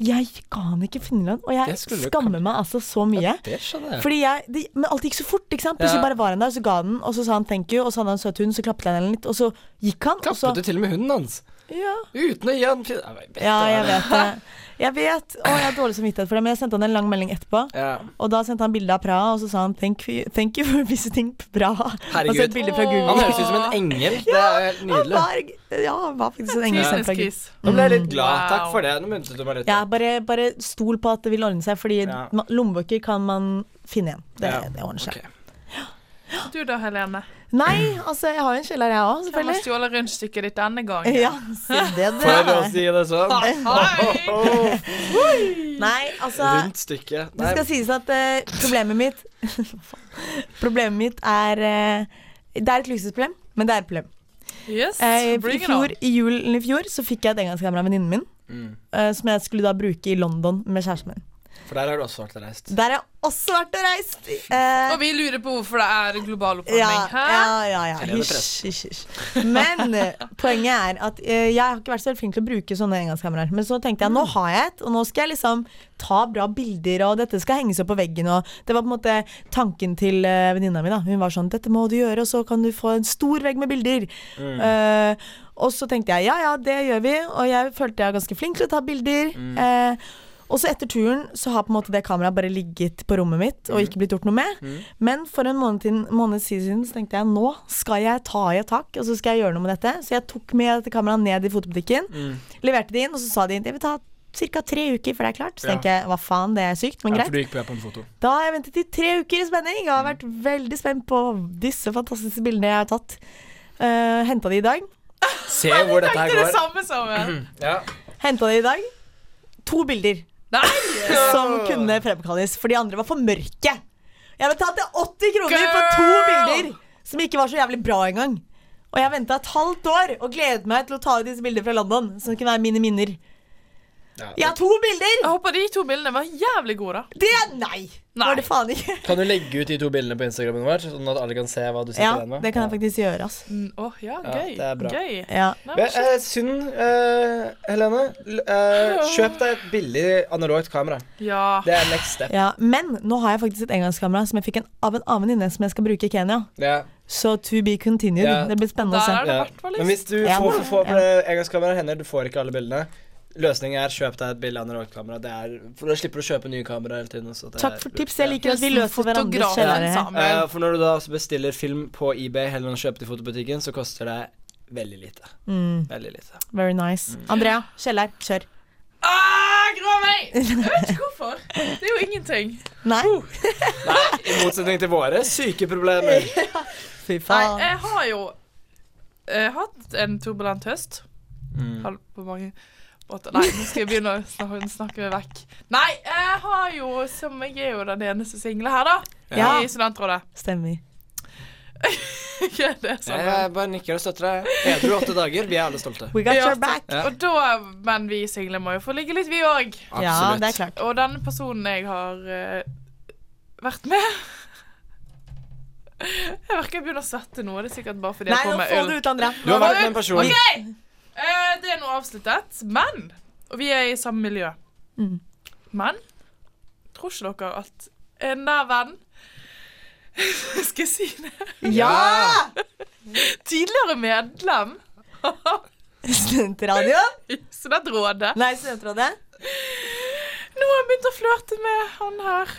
C: Jeg ga han ikke finnerlønn, og jeg
B: Det skulle du
C: skammer meg altså så mye.
B: Det skjønner jeg.
C: Fordi jeg, de, Men alt gikk så fort. ikke sant? Plutselig
B: Ja.
C: bare var han der, og så ga han den, og så sa han thank you, og så hadde han en søt hund, så klappet han henne litt, og så gikk han.
B: Kappet du
C: og så,
B: til og med hunden hans?
C: ja.
B: Uten å gi han fin- Jeg vet
C: ja,
B: det.
C: jeg vet det. Jeg vet, å, jeg har dårlig samvittighet for det, men jeg sendte han en lang melding etterpå.
B: Ja.
C: Og da sendte han bilde av Praha, og så sa han thank you, thank you for visiting Praha.
B: Herregud.
C: Og så et bilde fra Google.
B: Han høres ut som en engel. Det er helt
C: Han
B: nydelig.
C: var, ja, han var faktisk en engel.
A: Tidenes
C: fra Google.
A: kris.
B: Nå ble jeg litt glad.
A: Wow.
B: Takk for det. Nå muntet du meg litt.
C: Ja, bare, bare stol på at det vil ordne seg, fordi
B: Ja.
C: ma- lommebøker kan man finne igjen. Det,
B: Ja,
C: det ordner seg.
B: ok.
A: Du da, Helene?
C: Nei, altså, jeg har jo en kjeller, jeg
A: Hvem
C: òg,
A: har
C: selvfølgelig.
A: stjålet rundstykket ditt denne gangen?
C: *laughs* Ja, se det,
B: For å
C: dere.
B: si det sånn.
A: Hei!
B: *laughs* Åh,
C: Nei, altså
B: rundt stykket.
C: Det
B: Nei,
C: skal sies at eh, problemet mitt *laughs* Problemet mitt er eh, Det er et luksusproblem, men det er et problem.
A: Yes,
C: Eh, I,
A: bring it on.
C: fjor, I julen i fjor så fikk jeg et engangskamera av venninnen min,
B: Mm.
C: eh, som jeg skulle da bruke i London med kjæresten min.
B: for der har du også vært og reist.
C: Der har jeg også vært og reist. Eh,
A: Og vi lurer på hvorfor det er global
C: ja,
A: oppvarming. Hæ?
C: ja, ja, ja.
B: Eller
C: Hysj, hysj, hysj. Men eh, poenget er at eh, jeg har ikke vært så veldig flink til å bruke sånne engangskameraer. Men så tenkte jeg nå har jeg et, og nå skal jeg liksom ta bra bilder, og dette skal henges opp på veggen. Og det var på en måte tanken til eh, venninna mi. da Hun var sånn dette må du gjøre, og så kan du få en stor vegg med bilder. Eh, og så tenkte jeg ja ja, det gjør vi, og jeg følte jeg var ganske flink til å ta bilder. Eh, og så etter turen så har på en måte det kameraet bare ligget på rommet mitt
B: Mm.
C: og ikke blitt gjort noe med. Men for en måned, til, måned siden så tenkte jeg nå skal jeg ta i et tak, og så skal jeg gjøre noe med dette. Så jeg tok med dette kameraet ned i fotobutikken,
B: Mm.
C: leverte det inn, og så sa de det vil ta ca. tre uker før det er klart. Så
B: Ja.
C: tenker jeg hva faen, det er sykt, men
B: Ja, Mm.
C: greit.
B: for du gikk på Japan-foto.
C: Da har jeg ventet i tre uker i spenning og har vært veldig spent på disse fantastiske bildene jeg har tatt. Uh, Henta de i dag.
B: Se hvor dette her
A: Det er det
B: går. Mhm.
A: samme som en.
B: Ja.
C: Henta de i dag. To bilder
A: Nei!
C: *laughs* som kunne fremkalles, for de andre var for mørke. Jeg betalte 80 kroner for to
A: Girl!
C: bilder som ikke var så jævlig bra engang. Og jeg venta et halvt år og gledet meg til å ta ut disse bildene fra London. Som kunne være mine minner. Jeg har to bilder!
A: Jeg håper de to bildene var jævlig gode, da.
C: Det er nei!
A: Nei.
C: Var det faen ikke?
B: Kan du legge ut de to bildene på Instagrammen vår, sånn at alle kan se hva du sitter
C: Ja,
B: igjen med?
C: det kan jeg faktisk gjøre, ass.
A: Mm, Åh, ja,
B: Ja,
A: gøy.
B: det er bra.
A: gøy.
C: Ja.
A: Nei, men
B: Ja, eh, synd, eh, Helene. L- eh, kjøp deg et billig analogt kamera.
A: shit. Ja.
B: Det er next step.
C: Ja, men nå har jeg faktisk et engangskamera som jeg fikk en, av en annen venninne som jeg skal bruke i Kenya.
B: Ja.
C: Så to be continued.
B: Ja.
C: Det blir spennende
A: Der
C: å se.
A: er det liksom?
B: Ja.
A: verdt for litt.
B: Men hvis du
C: Ja.
B: får for få
C: Ja.
B: på det engangskameraet hender, du får ikke alle bildene. Løsningen er kjøp deg et billig analogt kamera. Det er, for da slipper du å kjøpe nye kameraer hele tiden. Så det
C: Takk
B: er-
C: for tips. Jeg liker at vi
A: Nesten
C: løser hverandres
A: fotografen
C: kjellere her.
A: sammen.
B: Eh, for når du da også bestiller film på eBay heller enn å kjøpe til fotobutikken, så koster det veldig lite.
C: Mm.
B: Veldig lite.
C: Very nice. Andrea, kjeller, kjør.
A: Ah, grå meg! Jeg vet ikke hvorfor. Det er jo ingenting.
C: Nei,
B: I motsetning til våre syke
C: *laughs*
B: problemer.
C: fy
A: Nei,
C: faen.
A: jeg har jo eh, hatt en turbulent høst.
B: Mm.
A: Halv på mange måter. Nei, nå skal jeg begynne å snakke, snakke meg vekk. Nei, jeg har jo Som jeg er jo den eneste single her, da.
C: Ja.
A: I studentrådet. *laughs*
C: Stemmer.
A: Ikke det sånn. samme.
B: Jeg, jeg bare nikker og støtter deg. Edru åtte dager. Vi er alle stolte.
C: We got
A: Ja,
C: your
A: takk.
C: back.
B: Ja.
A: Og da, men vi single må jo få ligge litt, vi òg.
C: Ja, det er klart.
A: Og denne personen jeg har eh, vært med Jeg merker jeg begynner å svette nå. Det er sikkert bare fordi
C: Nei,
A: jeg
C: nå
A: får meg
C: får
A: øl.
C: du ut, Andrea.
B: Du har vært med en person.
A: Ok! Eh, det er nå avsluttet, men Og vi er i samme miljø.
C: Mm.
A: Men tror ikke dere at en nær venn *laughs* Skal jeg si det?
C: Ja!
A: Tidligere medlem
C: Studentradio.
A: i Studentrådet.
C: Nei, studentrådet.
A: Nå har jeg begynt å flørte med han her.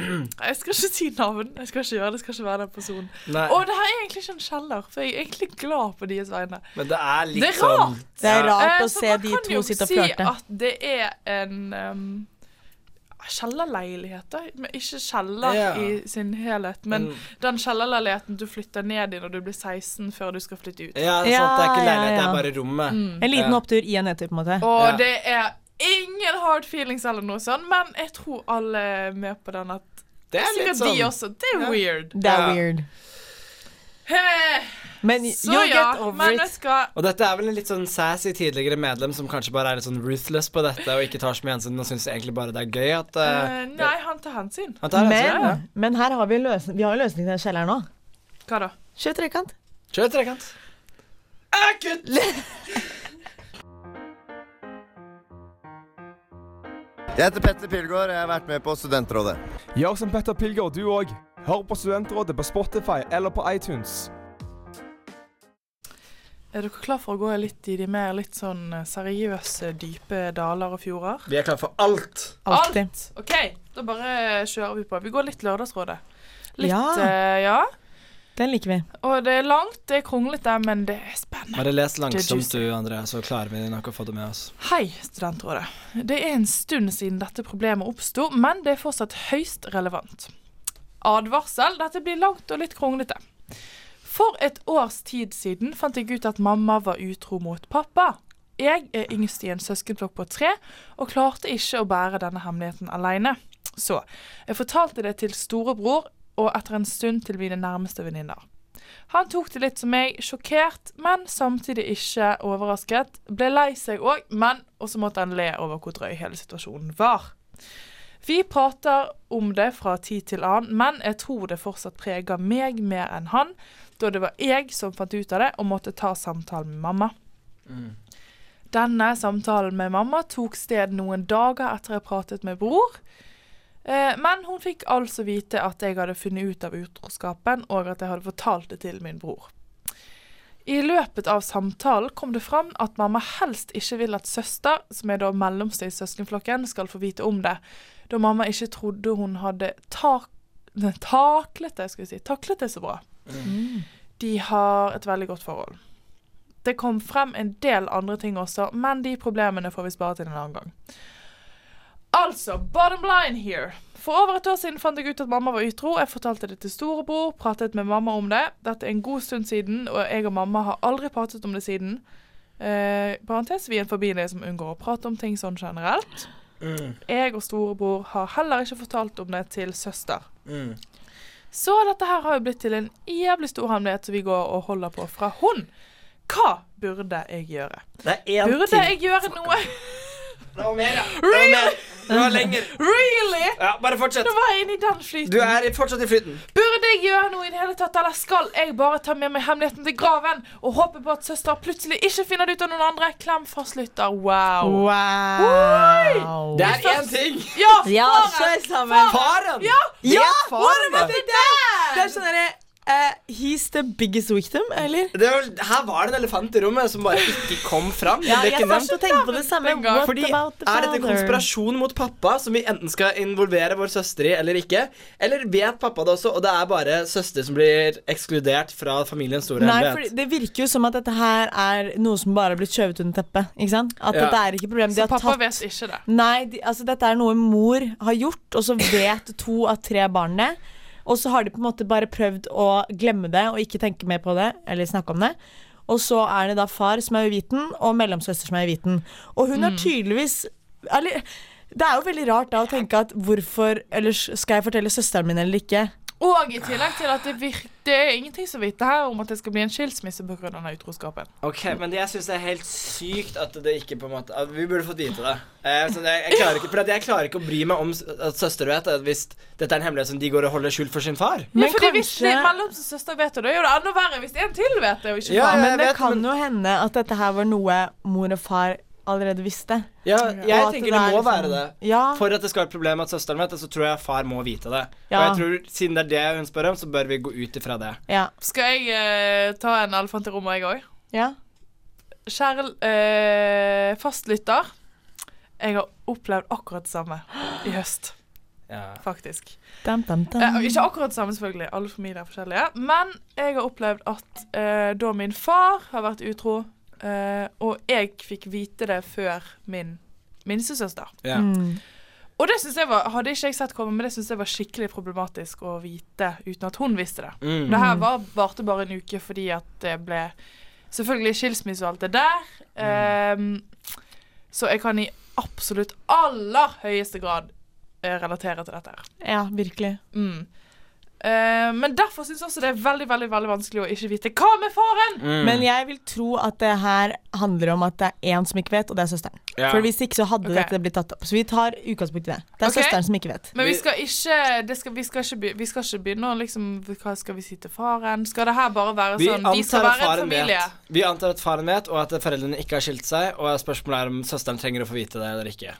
A: Jeg skal ikke si navn. Jeg skal ikke gjøre det. Jeg skal ikke være den personen.
B: Nei,
A: Og det her er egentlig ikke en kjeller, for jeg er egentlig glad på deres vegne.
B: men det er litt
A: Det er
B: sånn
A: rart.
C: Det er
A: Eh,
C: rart å
A: for
C: se
A: man
C: de
A: kan jo
C: to sitte og
A: Si
C: flørte.
A: at det er en um, kjellerleilighet, da. Men ikke kjeller
B: Ja.
A: i sin helhet, men
B: Mm.
A: den kjellerleiligheten du flytter ned i når du blir 16, før du skal flytte ut.
B: Ja, det er sant. Det er ikke
C: Ja, ja,
B: leilighet, det
C: ja.
B: er bare rommet.
A: Mm.
C: En liten
B: Ja.
C: opptur i en nedtur, på en måte.
A: Og
B: Ja.
A: det er ingen hard feelings eller noe sånt, men jeg tror alle er med på den at
B: Det er litt
A: Sikkert
B: sånn.
A: de også. Det er
B: Ja.
A: weird.
C: Det er
B: Ja.
C: weird.
A: Heh,
C: Men
A: så
C: you'll
A: ja,
C: get over
A: men jeg
C: it.
A: skal
B: Og dette er vel en litt sånn sassy tidligere medlem som kanskje bare er litt sånn ruthless på dette og ikke tar så mye hensyn og syns egentlig bare det er gøy at eh,
A: Eh, Nei, han tar hensyn.
B: han tar hensyn. ja.
C: Men, men her har vi en løsning. Vi har en løsning til den kjelleren nå.
A: Hva da?
C: Kjør trekant.
B: Kjør trekant.
A: Akutt!
E: Jeg heter Petter Pilgaard, og jeg har vært med på Studentrådet.
D: Gjør som Petter Pilgaard, du òg. Hør på Studentrådet på Spotify eller på iTunes.
A: Er dere klar for å gå litt i de mer litt sånn eh, seriøse, dype daler og fjorder?
B: Vi er klare for alt.
C: Alltid.
A: Alt! OK, da bare kjører vi på. Vi går litt Lørdagsrådet. Litt, ja.
C: Ja.
A: ja.
C: Den liker vi.
A: Og det er langt, det er kronglete, men det er spennende.
B: Bare les langsomt
A: juicy.
B: du, André, så klarer vi nok å få det med oss.
A: Hei, Studentrådet. Det er en stund siden dette problemet oppsto, men det er fortsatt høyst relevant. Advarsel. Dette blir langt og litt kronglete. For et års tid siden fant jeg ut at mamma var utro mot pappa. Jeg er yngst i en søskenflokk på tre, og klarte ikke å bære denne hemmeligheten alene. Så jeg fortalte det til storebror, og etter en stund til mine nærmeste venninner. Han tok det litt som meg, sjokkert, men samtidig ikke overrasket. Ble lei seg òg, men Og så måtte han le over hvor drøy hele situasjonen var. Vi prater om det fra tid til annen, men jeg tror det fortsatt preger meg mer enn han, da det var jeg som fant ut av det og måtte ta samtalen med mamma. Denne samtalen med mamma tok sted noen dager etter jeg pratet med bror. Eh, Men hun fikk altså vite at jeg hadde funnet ut av utroskapen, og at jeg hadde fortalt det til min bror. I løpet av samtalen kom det fram at mamma helst ikke vil at søster, som er da mellomste i søskenflokken, skal få vite om det, da mamma ikke trodde hun hadde tak ne, taklet det, skal vi si, taklet det så bra. De har et veldig godt forhold. Det kom frem en del andre ting også, men de problemene får vi spare til en annen gang. Altså, bottom line here. For over et år siden fant jeg ut at mamma var utro. Jeg fortalte det til storebror, pratet med mamma om det. Dette er en god stund siden, og jeg og mamma har aldri pratet om det siden. Eh, parentes, vi er en familie som unngår å prate om ting sånn generelt.
B: Mm.
A: Jeg og storebror har heller ikke fortalt om det til søster.
B: Mm.
A: Så dette her har jo blitt til en jævlig stor hemmelighet som vi går og holder på fra hun. Hva burde jeg gjøre?
B: Det er én
A: Burde
B: ting
A: jeg gjøre noe? *laughs*
B: Det var mer, ja. Det var, mer. Det var lenger.
A: Really?
B: Ja, bare fortsett.
A: Nå var jeg inne i den flyten.
B: Du er i- fortsatt i flyten.
A: Burde jeg gjøre noe i det hele tatt, eller skal jeg bare ta med meg hemmeligheten til graven og håpe på at søster plutselig ikke finner det ut av noen andre? Klem fastlytter. Wow.
C: Wow.
B: Det er én ting.
A: Ja,
C: Ja,
A: faren!
C: kjør sammen.
B: Faren!
A: Ja!
B: Det
C: Ja,
B: er faren.
C: Det er sånn derre eh, He's the biggest victim, eller?
B: Det var, her var det en elefant i rommet som bare ikke kom fram.
C: Ja,
B: Det ble
C: jeg
B: ikke nevnt.
C: satt og tenkte på det samme.
A: den gang.
C: What
B: Fordi
C: about the
B: Er dette
C: father?
B: konspirasjon mot pappa, som vi enten skal involvere vår søster i eller ikke? Eller vet pappa det også, og det er bare søster som blir ekskludert fra familiens store
C: Nei, for
B: hemmelighet?
C: det virker jo som at dette her er noe som bare har blitt skjøvet under teppet. Ikke sant? At
B: Ja.
C: dette er ikke problemet. De
A: Så
C: har
A: pappa
C: tatt
A: vet ikke det.
C: Nei, de, altså dette er noe mor har gjort, og så vet
A: *coughs*
C: to av tre barn det. Og så har de på en måte bare prøvd å glemme det og ikke tenke mer på det. Eller snakke om det Og så er det da far som er uviten, og mellomsøster som er uviten. Og hun
A: Mm.
C: har tydeligvis Eller det er jo veldig rart da å tenke at hvorfor ellers skal jeg fortelle søsteren min eller ikke?
A: Og i tillegg til at det, vir- det er ingenting som vet det her om at det skal bli en skilsmisse pga. utroskapen.
B: Ok, Men jeg syns det er helt sykt at det ikke på en måte at Vi burde fått vite det. Eh, så jeg, jeg, klarer ikke, for at jeg klarer ikke å bry meg om s- at søster vet at hvis dette er en hemmelighet som de går og holder skjult for sin far.
A: Men fordi Hvis det mellomste søster vet det, da er jo det enda verre hvis en til vet det. og ikke
B: Ja,
A: faren.
B: jeg
C: Men det
B: vet,
C: kan
B: men-
C: jo hende at dette her var noe mor og far allerede visste.
B: Ja,
C: Og
B: jeg
C: at
B: tenker det
C: er
B: må
C: liksom-
B: være det.
C: Ja,
B: For at det skal være et problem at søsteren vet det, så tror jeg far må vite det. Og
C: Ja.
B: jeg tror, siden det er det hun spør om, så bør vi gå ut ifra det.
C: ja,
A: Skal jeg eh, ta en elefant i rommet, jeg òg?
C: ja.
A: Kjære eh, fastlytter. Jeg har opplevd akkurat det samme i høst,
B: Ja.
A: faktisk.
C: Dam, dam, dam.
A: Eh, og ikke akkurat det samme, selvfølgelig. Alle familier er forskjellige. Men jeg har opplevd at eh, da min far har vært utro, eh, og jeg fikk vite det før min minstesøster
B: Ja.
C: Mm.
A: Og det synes jeg var, hadde ikke jeg sett komme, men det synes jeg var skikkelig problematisk å vite uten at hun visste det.
B: Mm.
A: Det her var, varte bare en uke fordi at det ble selvfølgelig skilsmisse og alt det der.
B: Mm.
A: Ehm, så jeg kan i absolutt aller høyeste grad eh, relatere til dette her.
C: Ja, virkelig.
A: Mm. Eh, men derfor syns jeg også det er veldig veldig, veldig vanskelig å ikke vite hva med faren!
B: Mm.
C: Men jeg vil tro at det her handler om at det er én som ikke vet, og det er søsteren.
B: Ja.
C: For hvis ikke så hadde
A: Ok.
C: dette blitt tatt opp. Så vi tar utgangspunkt i det. Det er
A: Ok.
C: søsteren som ikke vet.
A: Men vi
B: Vi-
A: skal ikke, det skal, vi, skal ikke, be- vi skal ikke begynne å liksom Hva skal vi si til faren? Skal det her bare være
B: Vi
A: sånn? De
B: antar
A: skal
B: at
A: være en
B: faren
A: familie.
B: vet. Vi antar at faren vet, og at foreldrene ikke har skilt seg. Og spørsmålet er om søsteren trenger å få vite det eller ikke.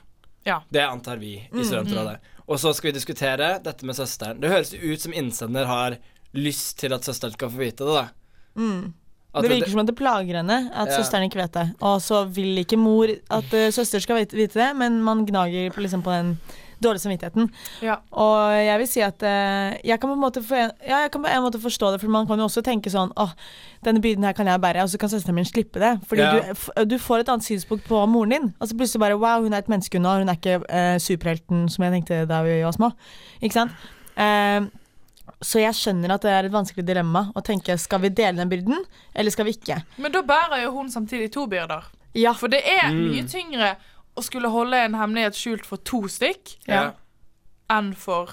A: Ja. Mm,
B: Det antar vi i Studentrådet. Og så skal vi diskutere dette med søsteren. Det høres jo ut som innsender har lyst til at søsteren skal få vite det, da.
A: Mm.
B: At
C: Det virker som at det plager henne at
B: Ja.
C: søsteren ikke vet det. Og så vil ikke mor at eh, søster skal vite, vite det, men man gnager på, liksom, på den dårlige samvittigheten.
A: Ja.
C: Og jeg vil si at eh, jeg kan på en måte, for en, ja, jeg kan på en måte forstå det, for man kan jo også tenke sånn åh, denne byrden her kan jeg bære, og så kan søsteren min slippe det. Fordi
B: Ja.
C: du, f du får et annet synspunkt på moren din. Altså plutselig bare wow, hun er et menneske hun er, hun er ikke eh, superhelten som jeg tenkte da vi var små. Ikke sant? Eh, Så jeg skjønner at det er et vanskelig dilemma å tenke skal vi dele den byrden, eller skal vi ikke?
A: Men da bærer jo hun samtidig to byrder.
C: Ja,
A: For det er
B: Mm.
A: mye tyngre å skulle holde en hemmelighet skjult for to stykk
B: Ja.
A: enn for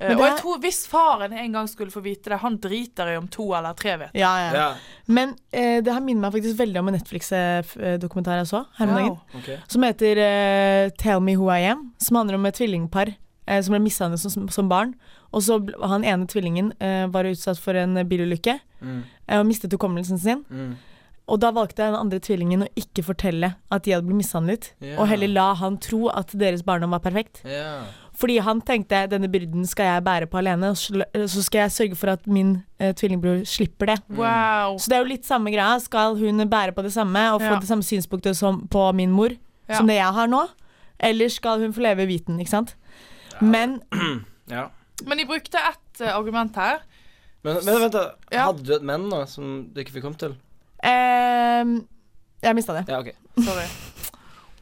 A: eh,
C: Men det
A: Og jeg
C: er-
A: tror hvis faren en gang skulle få vite det, han driter i om to eller tre vet.
B: Mm.
C: ja, ja.
B: ja.
C: Men eh, det her minner meg faktisk veldig om en eh, Netflix-dokumentar jeg så her om dagen.
A: Wow.
B: ok.
C: Som heter eh, Tell Me Who I Am. Som handler om et tvillingpar eh, som ble mishandlet som, som barn. Og så ble- han ene tvillingen eh, var utsatt for en eh, bilulykke
B: Mm.
C: eh, og mistet hukommelsen sin.
B: Mm.
C: Og da valgte den andre tvillingen å ikke fortelle at de hadde blitt mishandlet,
B: Ja.
C: og heller la han tro at deres barndom var perfekt.
B: Ja.
C: Fordi han tenkte denne byrden skal jeg bære på alene, og sl- så skal jeg sørge for at min eh, tvillingbror slipper det.
A: Wow.
C: Så det er jo litt samme greia. Skal hun bære på det samme og få
A: Ja.
C: det samme synspunktet som på min mor,
A: Ja.
C: som det jeg har nå? Eller skal hun få leve i viten, ikke sant? Men
B: ja.
A: Men de brukte ett eh, argument her.
B: Men, men vent, da.
A: Ja.
B: Hadde du et menn nå som du ikke fikk komme til?
C: ehm, Jeg mista det.
B: Ja, ok.
A: Sorry.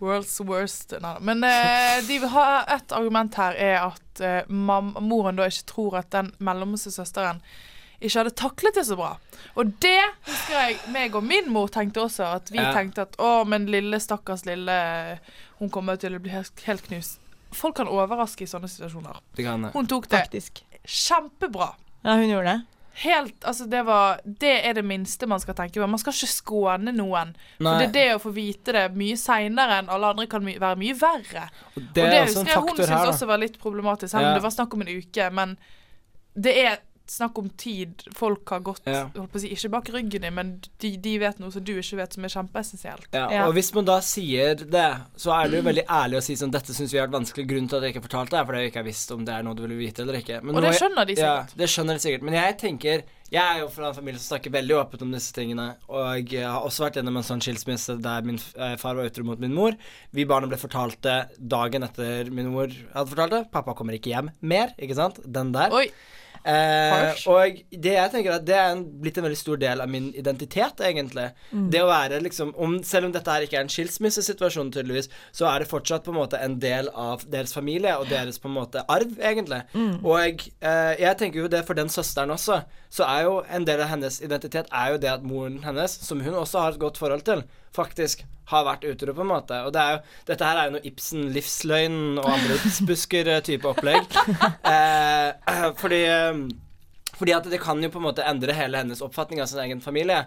A: World's worst Nei da. Men eh, de har et argument her er at eh, mam moren da ikke tror at den mellomste søsteren ikke hadde taklet det så bra. Og det husker jeg meg og min mor tenkte også. At vi
B: Ja.
A: tenkte at å, men lille, stakkars lille, hun kommer til å bli helt, helt knust. Folk kan overraske i sånne situasjoner.
B: Det kan jeg.
A: Hun tok det
C: Faktisk.
A: kjempebra.
C: Ja, hun gjorde det.
A: Helt, altså det, var, det er det minste man skal tenke på. Man skal ikke skåne noen. For
B: Nei.
A: det er det å få vite det mye seinere enn alle andre kan my være mye verre.
B: Det
A: og
B: er
A: det
B: også
A: husker
B: en
A: jeg hun
B: faktor
A: syntes
B: her, da.
A: også var litt problematisk, selv om
B: Ja.
A: det var snakk om en uke. Men det er snakk om tid. Folk har gått
B: Ja.
A: holdt på å si, ikke bak ryggen din, men de, de vet noe som du ikke vet, som er kjempeessensielt.
B: Ja,
C: Ja.
B: og hvis man da sier det, så er det jo veldig ærlig å si sånn Dette syns vi har vært vanskelig. Grunnen til at jeg ikke fortalte det, er fordi jeg ikke har visst om det er noe du ville vite eller ikke. Men
A: Og
B: nå
A: det
B: er-
A: skjønner de sikkert.
B: Ja, det skjønner de sikkert. Men jeg tenker Jeg er jo fra en familie som snakker veldig åpent om disse tingene. Og jeg har også vært gjennom en sånn skilsmisse der min f- eh, far var utro mot min mor. Vi barna ble fortalt det dagen etter min mor hadde fortalt det. Pappa kommer ikke hjem mer, ikke sant? Den der.
A: Oi,
B: Eh,
A: Harsh.
B: og det jeg tenker er at det er en, blitt en veldig stor del av min identitet, egentlig. Det å være liksom om, Selv om dette her ikke er en skilsmissesituasjon, tydeligvis, så er det fortsatt på en måte en del av deres familie og deres på en måte arv, egentlig. Og eh, jeg tenker jo det for den søsteren også, så er jo en del av hennes identitet er jo det at moren hennes, som hun også har et godt forhold til, faktisk har vært utro, på en måte. Og det er jo, dette her er jo noe Ibsen-livsløgn og andre Ibsbusker-type opplegg. Eh, eh, *clears throat* fordi eh, Fordi at det kan jo på en måte endre hele hennes oppfatning av sin egen familie.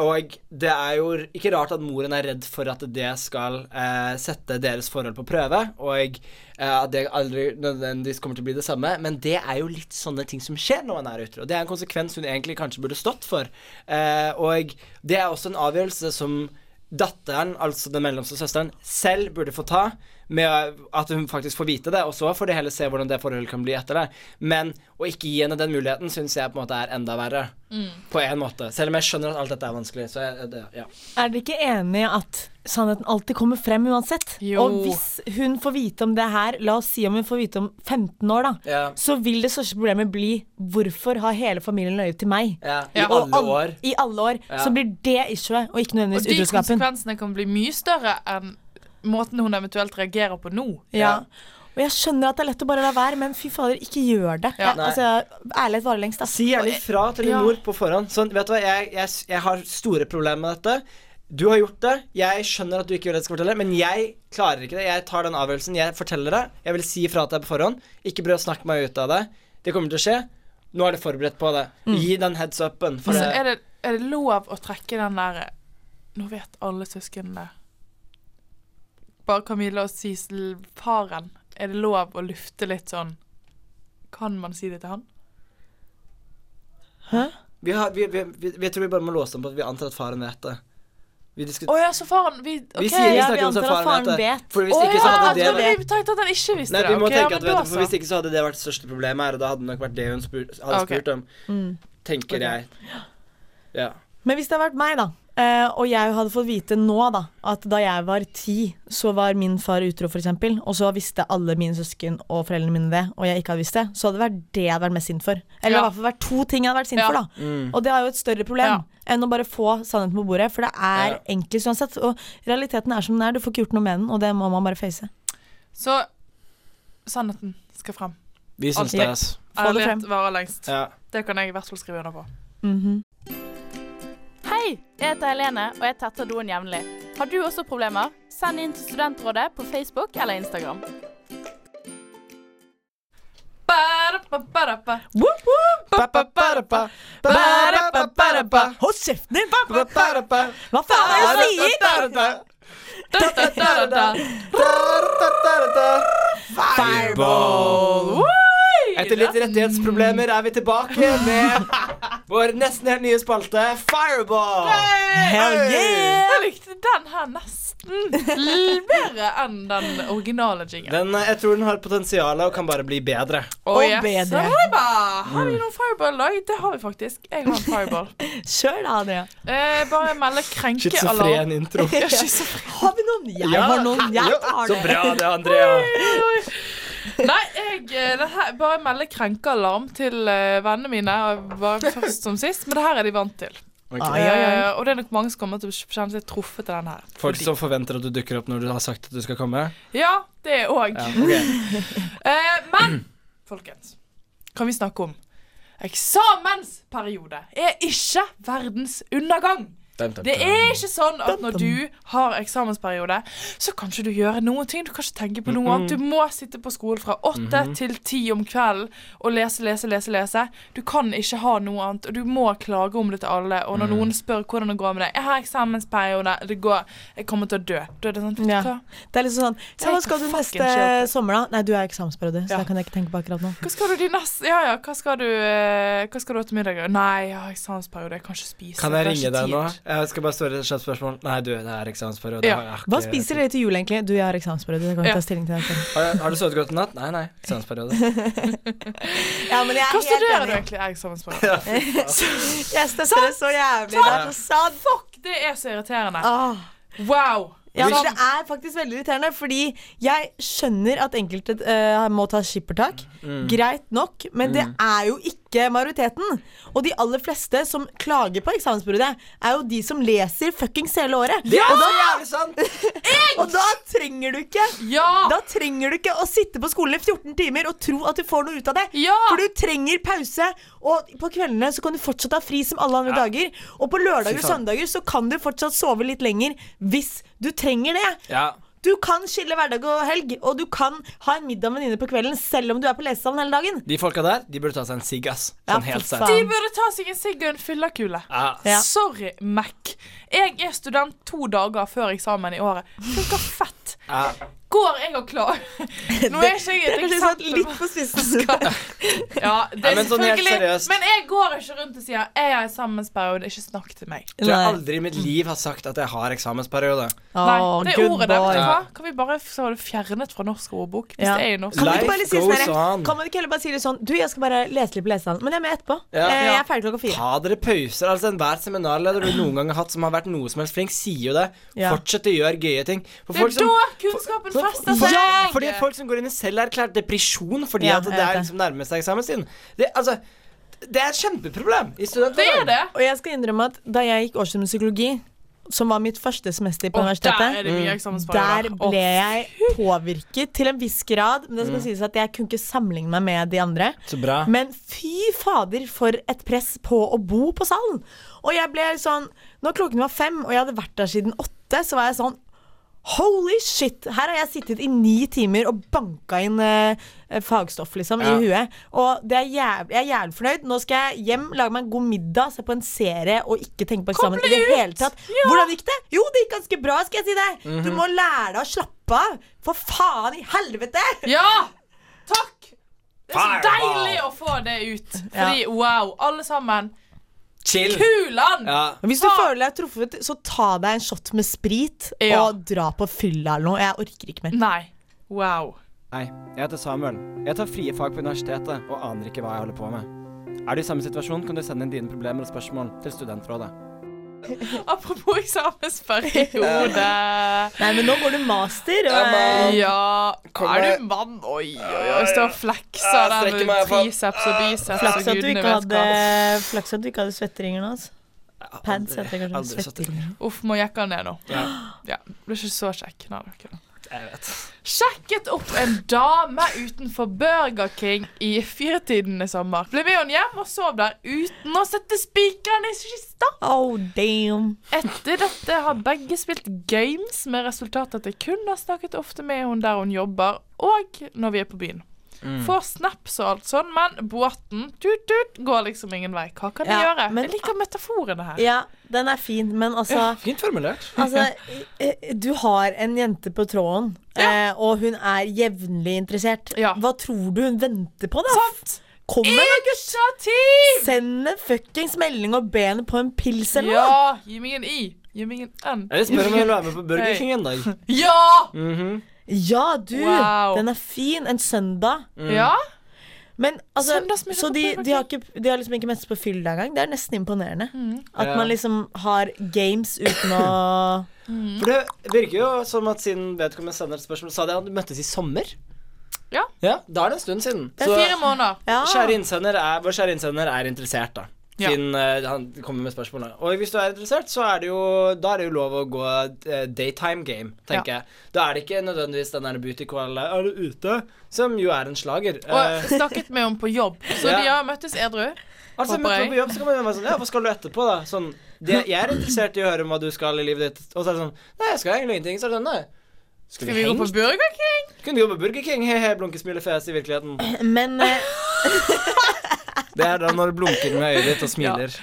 B: Og det er jo ikke rart at moren er redd for at det skal eh, sette deres forhold på prøve, og eh, at det aldri nødvendigvis kommer til å bli det samme, men det er jo litt sånne ting som skjer når man er utro. Det er en konsekvens hun egentlig kanskje burde stått for. Eh, og det er også en avgjørelse som datteren, altså den mellomste søsteren, selv burde få ta, med at hun faktisk får vite det, og så får de heller se hvordan det forholdet kan bli etter det. Men å ikke gi henne den muligheten syns jeg på en måte er enda verre. På en måte. Selv om jeg skjønner at alt dette er vanskelig. Så jeg, det, ja.
C: Er dere ikke enig at sannheten alltid kommer frem uansett?
A: Jo.
C: Og hvis hun får vite om det her, la oss si om hun får vite om 15 år, da,
B: Ja.
C: så vil det største problemet bli hvorfor har hele familien løyet til meg?
B: Ja. I
A: Ja.
C: Og
B: alle
C: all-
B: år.
C: I alle år.
B: Ja.
C: Så blir det issuet, og ikke
A: og
C: nødvendigvis
A: de
C: utroskapen.
A: konsekvensene kan bli mye større enn måten hun eventuelt reagerer på nå.
C: Ja. Og jeg skjønner at det er lett å bare la være, men fy fader, ikke gjør det.
A: Ja.
C: Jeg, altså, ærlighet varer lengst, ass.
B: Si gjerne ifra til din
A: Ja.
B: mor på forhånd. Sånn, vet du hva, jeg, jeg, jeg har store problemer med dette. Du har gjort det. Jeg skjønner at du ikke vil at jeg skal fortelle, men jeg klarer ikke det. Jeg tar den avgjørelsen. Jeg forteller det. Jeg vil si ifra til deg på forhånd. Ikke prøv å snakke meg ut av det. Det kommer til å skje. Nå er du forberedt på det. Gi den heads upen.
A: Og
B: For
A: så
B: det-
A: er det, er det lov å trekke den der Nå vet alle søsknene Bare Camilla og Sisel, faren. Er det lov å lufte litt sånn Kan man si det til han?
B: vi, har, vi, vi, vi, jeg tror vi bare må låse dem på at vi antar at faren vet det. Vi
A: Å
B: diskuterer
A: ja, så faren Vi, ok.
B: Vi sier vi
C: ja,
B: snakker
C: vi
B: om så
C: antar at
B: faren vet det.
C: faren vet.
B: For hvis
A: Å
B: ikke sånn
A: ja,
B: så hadde det
A: jeg trodde
B: vært
A: vi tenkte at han ikke visste
B: Nei,
A: det.
B: vi må
A: Ok, ja,
B: tenke
A: men
B: at vet
A: da
B: du, for
A: så.
B: Hvis ikke så hadde det vært det største problemet her, og da hadde det nok vært det hun spur, hadde
A: Ah, ok.
B: spurt om. Tenker jeg. Ja.
C: Men hvis det hadde vært meg, da, eh, og jeg hadde fått vite nå da, at da jeg var ti, så var min far utro, f.eks., og så visste alle mine søsken og foreldrene mine det, og jeg ikke hadde visst det, så hadde det vært det jeg hadde vært mest sint for. Eller
A: Ja.
C: i hvert fall vært to ting jeg hadde vært sint
A: Ja.
C: for, da.
B: Mm.
C: Og det er jo et større problem
A: Ja.
C: enn å bare få sannheten på bordet, for det er
B: Ja.
C: enkelt uansett. Og realiteten er som den er, du får ikke gjort noe med den, og det må man bare face.
A: Så sannheten skal frem.
B: Vi syns
A: Alltid.
B: det, ass.
C: Få det
A: Ærlighet
C: frem.
A: varer lengst.
B: Ja.
A: Det kan jeg i hvert fall skrive under på.
C: Mhm.
F: Hei, jeg heter Helene, og jeg tetter doen jevnlig. Har du også problemer? Send inn til Studentrådet på Facebook eller Instagram.
A: Ba-da-ba-ba-da-ba.
C: Woop, woop.
B: Ba-ba-ba-da-ba. Ba-da-ba-ba-da-ba.
C: Hold kjeften din!
B: Ba-ba-ba-da-ba.
C: Hva faen er det du sier?!
B: Da-da-da-da-da.
A: Da-da-da-da-da.
B: Da-da-da-da-da. Fireball! Etter litt rettighetsproblemer er vi tilbake
A: Mm.
B: med vår nesten helt nye spalte, Fireball.
C: Hell yeah!
A: Jeg likte den her nesten l- bedre enn den originale jingen.
B: Den, eh, jeg tror den har potensial og kan bare bli bedre.
A: Og
C: bedre.
A: Har vi noen fireball i dag? Det har vi faktisk. Jeg har en fireball.
C: Kjør da, Adrian.
A: Eh, bare melde krenkealarm.
B: Schizofren intro.
A: *laughs* Ja, schizofren.
C: Har vi noen? Jeg har noen. Jeg tar
B: Så
C: det.
B: bra det, Andrea.
A: Nei, jeg eh, det her, bare melde krenkealarm til eh, vennene mine. og Bare først som sist, men det her er de vant til.
C: Ai, ai, ai.
A: Eh, og det er nok mange som kommer til å kjenne seg truffet til den her.
B: Folk
A: Fordi-
B: som forventer at du dukker opp når du har sagt at du skal komme.
A: Ja, det òg.
C: *laughs*
B: Ja, ok.
A: Eh, men folkens, kan vi snakke om eksamensperiode er ikke verdens undergang. Det er ikke sånn at når du har eksamensperiode, så kan ikke du gjøre noen ting. Du kan ikke tenke på noe annet. Du må sitte på skolen fra åtte til ti om kvelden og lese, lese, lese. lese. Du kan ikke ha noe annet, og du må klage om det til alle. Og når noen spør hvordan det går med deg 'Jeg har eksamensperiode. Det går. Jeg kommer til å dø.' Da er det sånn, vet du
C: Ja.
A: hva?
C: Det er liksom sånn Så hva skal du
A: Take a fucking
C: neste sommer, da? Nei, du er i eksamensperiode, så
A: Ja.
C: det kan jeg ikke tenke på akkurat nå.
A: Hva skal du de neste Ja, ja, hva skal du, eh, hva skal du ha til middag? Nei, jeg har eksamensperiode, jeg kan ikke spise.
B: Kan jeg
A: har
B: ringe
A: ikke
B: deg
A: tid.
B: nå? Jeg skal bare stå i et kjapt spørsmål. Nei, du, det er eksamensperiode.
A: Ja.
B: Jeg har ikke-
C: Hva spiser dere til jul, egentlig? Du, jeg har eksamensperiode, så jeg kan ikke
A: Ja.
C: ta stilling til dette.
B: Har, har du sovet godt i natt? Nei, nei.
C: *laughs*
B: Eksamensperiode.
C: Ja, men jeg
A: Hva studerer du egentlig? Jeg har Eksamensperiode.
C: Jeg støtter det så jævlig. Ah. Det er så sant.
A: Fuck, det er så irriterende.
C: Åh.
A: Wow.
C: Ja, men
A: Sånn-
C: det er faktisk veldig irriterende, fordi jeg skjønner at enkelte eh, må ta skippertak.
B: Mm.
C: Greit nok, men det er jo ikke majoriteten. Og de aller fleste som klager på eksamensperiodet, er jo de som leser fuckings hele året.
B: Det er så jævlig sant!
C: *laughs* Og da trenger du ikke
A: Ja!
C: Da trenger du ikke å sitte på skolen i 14 timer og tro at du får noe ut av det.
A: Ja!
C: For du trenger pause, og på kveldene så kan du fortsatt ha fri som alle andre dager. Og på lørdager
B: Fy
C: og
B: faen.
C: søndager så kan du fortsatt sove litt lenger hvis du trenger det.
B: Ja.
C: Du kan skille hverdag og helg, og du kan ha en middag med venninne på kvelden selv om du er på lesesalen hele dagen.
B: De folka der, de burde ta seg en sigg, ass.
C: Ja,
B: Sånn helt
C: for
B: seriøst.
A: De
C: faen.
A: burde ta seg en sigg og en fyllekule.
B: Ja.
C: Ja.
A: Sorry, Mac. Jeg er student to dager før eksamen i året. Funker fett.
B: Ja.
A: Går jeg og
C: *laughs*
A: klager? Nå er ikke jeg
C: Det er
A: et
C: kanskje satt
A: eksempel
C: litt på spissen. *laughs*
A: Ja, det
B: Nei,
A: er
B: men sånn helt
A: selvfølgelig
B: seriøst.
A: Men jeg går ikke rundt og sier 'jeg har eksamensperiode', ikke snakk til meg.
B: Jeg tror jeg aldri i mitt liv har sagt at jeg har eksamensperiode.
C: Åh,
A: Nei, det
C: good
A: ordet der, vet du
C: boy.
A: hva? Kan vi bare få det fjernet fra norsk ordbok? Hvis
C: Ja.
A: det er i norsk
C: Kan man,
B: Life
C: ikke bare si sånn
B: goes
C: her,
B: on.
C: kan man ikke heller bare si det sånn Du, jeg skal bare lese litt på lesesalen, men jeg er med etterpå.
B: Ja.
C: Eh,
A: Ja.
C: Jeg er ferdig klokka fire.
B: Ta dere pauser. altså Enhver seminarleder du noen gang har hatt som har vært noe som helst flink, sier jo det.
C: Ja.
B: Fortsett å gjøre gøye ting. For
A: Det er
B: folk som-
A: da kunnskapen
B: for-
A: fester
B: for-
A: seg!
B: Ja, fordi folk som går inn i selverklært depresjon fordi
C: Ja,
B: at det
C: jeg vet
B: er
C: det.
B: liksom nærmeste eksamenstiden. Det, altså, det er et kjempeproblem i studentene.
A: Det er det!
C: Og jeg skal innrømme at da jeg gikk årsstudium i psykologi, som var mitt første semester på
A: Og der er
C: universitetet, Mm.
A: det mye
C: der
A: eksamensperioder.
C: ble jeg påvirket til en viss grad. Men det skal sies at jeg kunne ikke sammenligne meg med de
B: Mm.
C: andre.
B: Så bra.
C: Men fy fader for et press på å bo på salen. Og jeg ble sånn Når klokken var fem, og jeg hadde vært der siden åtte, så var jeg sånn Holy shit! Her har jeg sittet i ni timer og banka inn eh, fagstoff liksom,
B: Ja.
C: i huet. Og det er jævlig, jeg er jævlig fornøyd. Nå skal jeg hjem, lage meg en god middag, se på en serie og ikke tenke på eksamen. i det hele tatt. Hvordan gikk det? Jo, det gikk ganske bra, skal jeg si deg. Du må lære deg å slappe av. For faen i helvete!
A: Ja! Takk! Det er så
B: Fireball.
A: deilig å få det ut. Fordi wow, alle sammen.
B: Chill.
A: Kulan!
B: Ja.
C: Hvis du
A: Ta-
C: føler deg truffet, så ta deg en shot med sprit
A: Ja.
C: og dra på fylla eller noe. Jeg orker ikke mer.
A: Nei. Wow.
B: Hei, jeg heter Samuel. Jeg tar frie fag på universitetet og aner ikke hva jeg holder på med. Er du i samme situasjon, kan du sende inn dine problemer og spørsmål til Studentrådet.
A: Apropos
C: *laughs*
A: eksamensperiode.
C: Nei, men nå går du master. Og, eh,
A: Ja
B: Kommer-
A: Er du mann? Oi, oi, oi. Står og flekser
B: Jeg
A: der
B: strekker
A: med
B: meg i hvert fall.
A: triceps og biceps
C: flaks,
A: og
C: at du
A: gudene
C: ikke
A: vet
C: hadde,
A: hva.
C: flaks at du ikke hadde svetteringer nå. Altså. Pads heter det kanskje.
B: aldri
C: Svetteringer.
A: Uff, må jekke han ned nå.
B: Ja.
A: Ja, Blir ikke så kjekk. Nei, det er ikke det.
B: Jeg vet.
A: Sjekket opp en dame utenfor Burger King i fyrtiden i sommer. Ble med henne hjem og sov der uten å sette spikeren i kista.
C: Oh, damn.
A: Etter dette har begge spilt games med resultat at jeg kun har snakket ofte med henne der hun jobber, og når vi er på byen. Får snaps og alt sånn, men båten tut, tut, går liksom ingen vei. Hva kan jeg
C: Ja,
A: gjøre?
C: men-
A: Jeg liker metaforene her.
C: Ja, den er fin, men altså
B: Fint formulert.
C: Altså, eh, du har en jente på tråden, eh, og hun er jevnlig interessert.
A: Ja.
C: Hva tror du hun venter på, da? Kom med en
A: Initiativ!
C: Send en fuckings melding og be henne på en pils eller noe.
A: Ja, gi meg en I. Gi meg en N.
B: Jeg vil spørre
A: *laughs*
B: om jeg vil være med på Burger
A: Hei.
B: King en dag. Mhm.
A: Ja!
C: Ja, du!
A: Wow.
C: Den er fin. En søndag.
A: Ja?
C: Men altså,
A: Søndagsmiddag
C: så
A: på
C: de,
A: Burger
C: de, har ikke, de har liksom ikke møttes på fylla engang. Det er nesten imponerende. At
B: Ja.
C: man liksom har games uten å
B: For det virker jo som at siden vedkommende sender et spørsmål, sa de at de møttes i sommer.
A: Ja.
B: Ja, Da er det en stund siden.
A: Det er fire måneder.
C: Ja.
B: Kjære innsender er, vår kjære innsender er interessert, da.
A: Ja.
B: Siden eh, han kommer med spørsmål. da. Og hvis du er interessert, så er det jo, da er det jo lov å gå eh, daytime game, tenker jeg. Da er det ikke nødvendigvis den der beauty call Er du ute? Som jo er en slager. Eh,
A: Og snakket med henne på jobb, så
B: Ja.
A: de har møttes edru.
B: altså,
A: håper
B: møter man
A: jeg.
B: på jobb, så kan man jo være sånn Ja, hva skal du etterpå, da? Sånn det, Jeg er interessert i å høre om hva du skal i livet ditt. Og så er det sånn Nei, jeg skal egentlig ingenting. Så er det sånn Nei.
A: Skal vi gå på
B: hengt?
A: Burger King?
B: Kunne du jobbe på Burger King? He-he, blunkesmilefjes i virkeligheten.
C: Men, eh,
B: Det er da når du blunker med øyet ditt og smiler.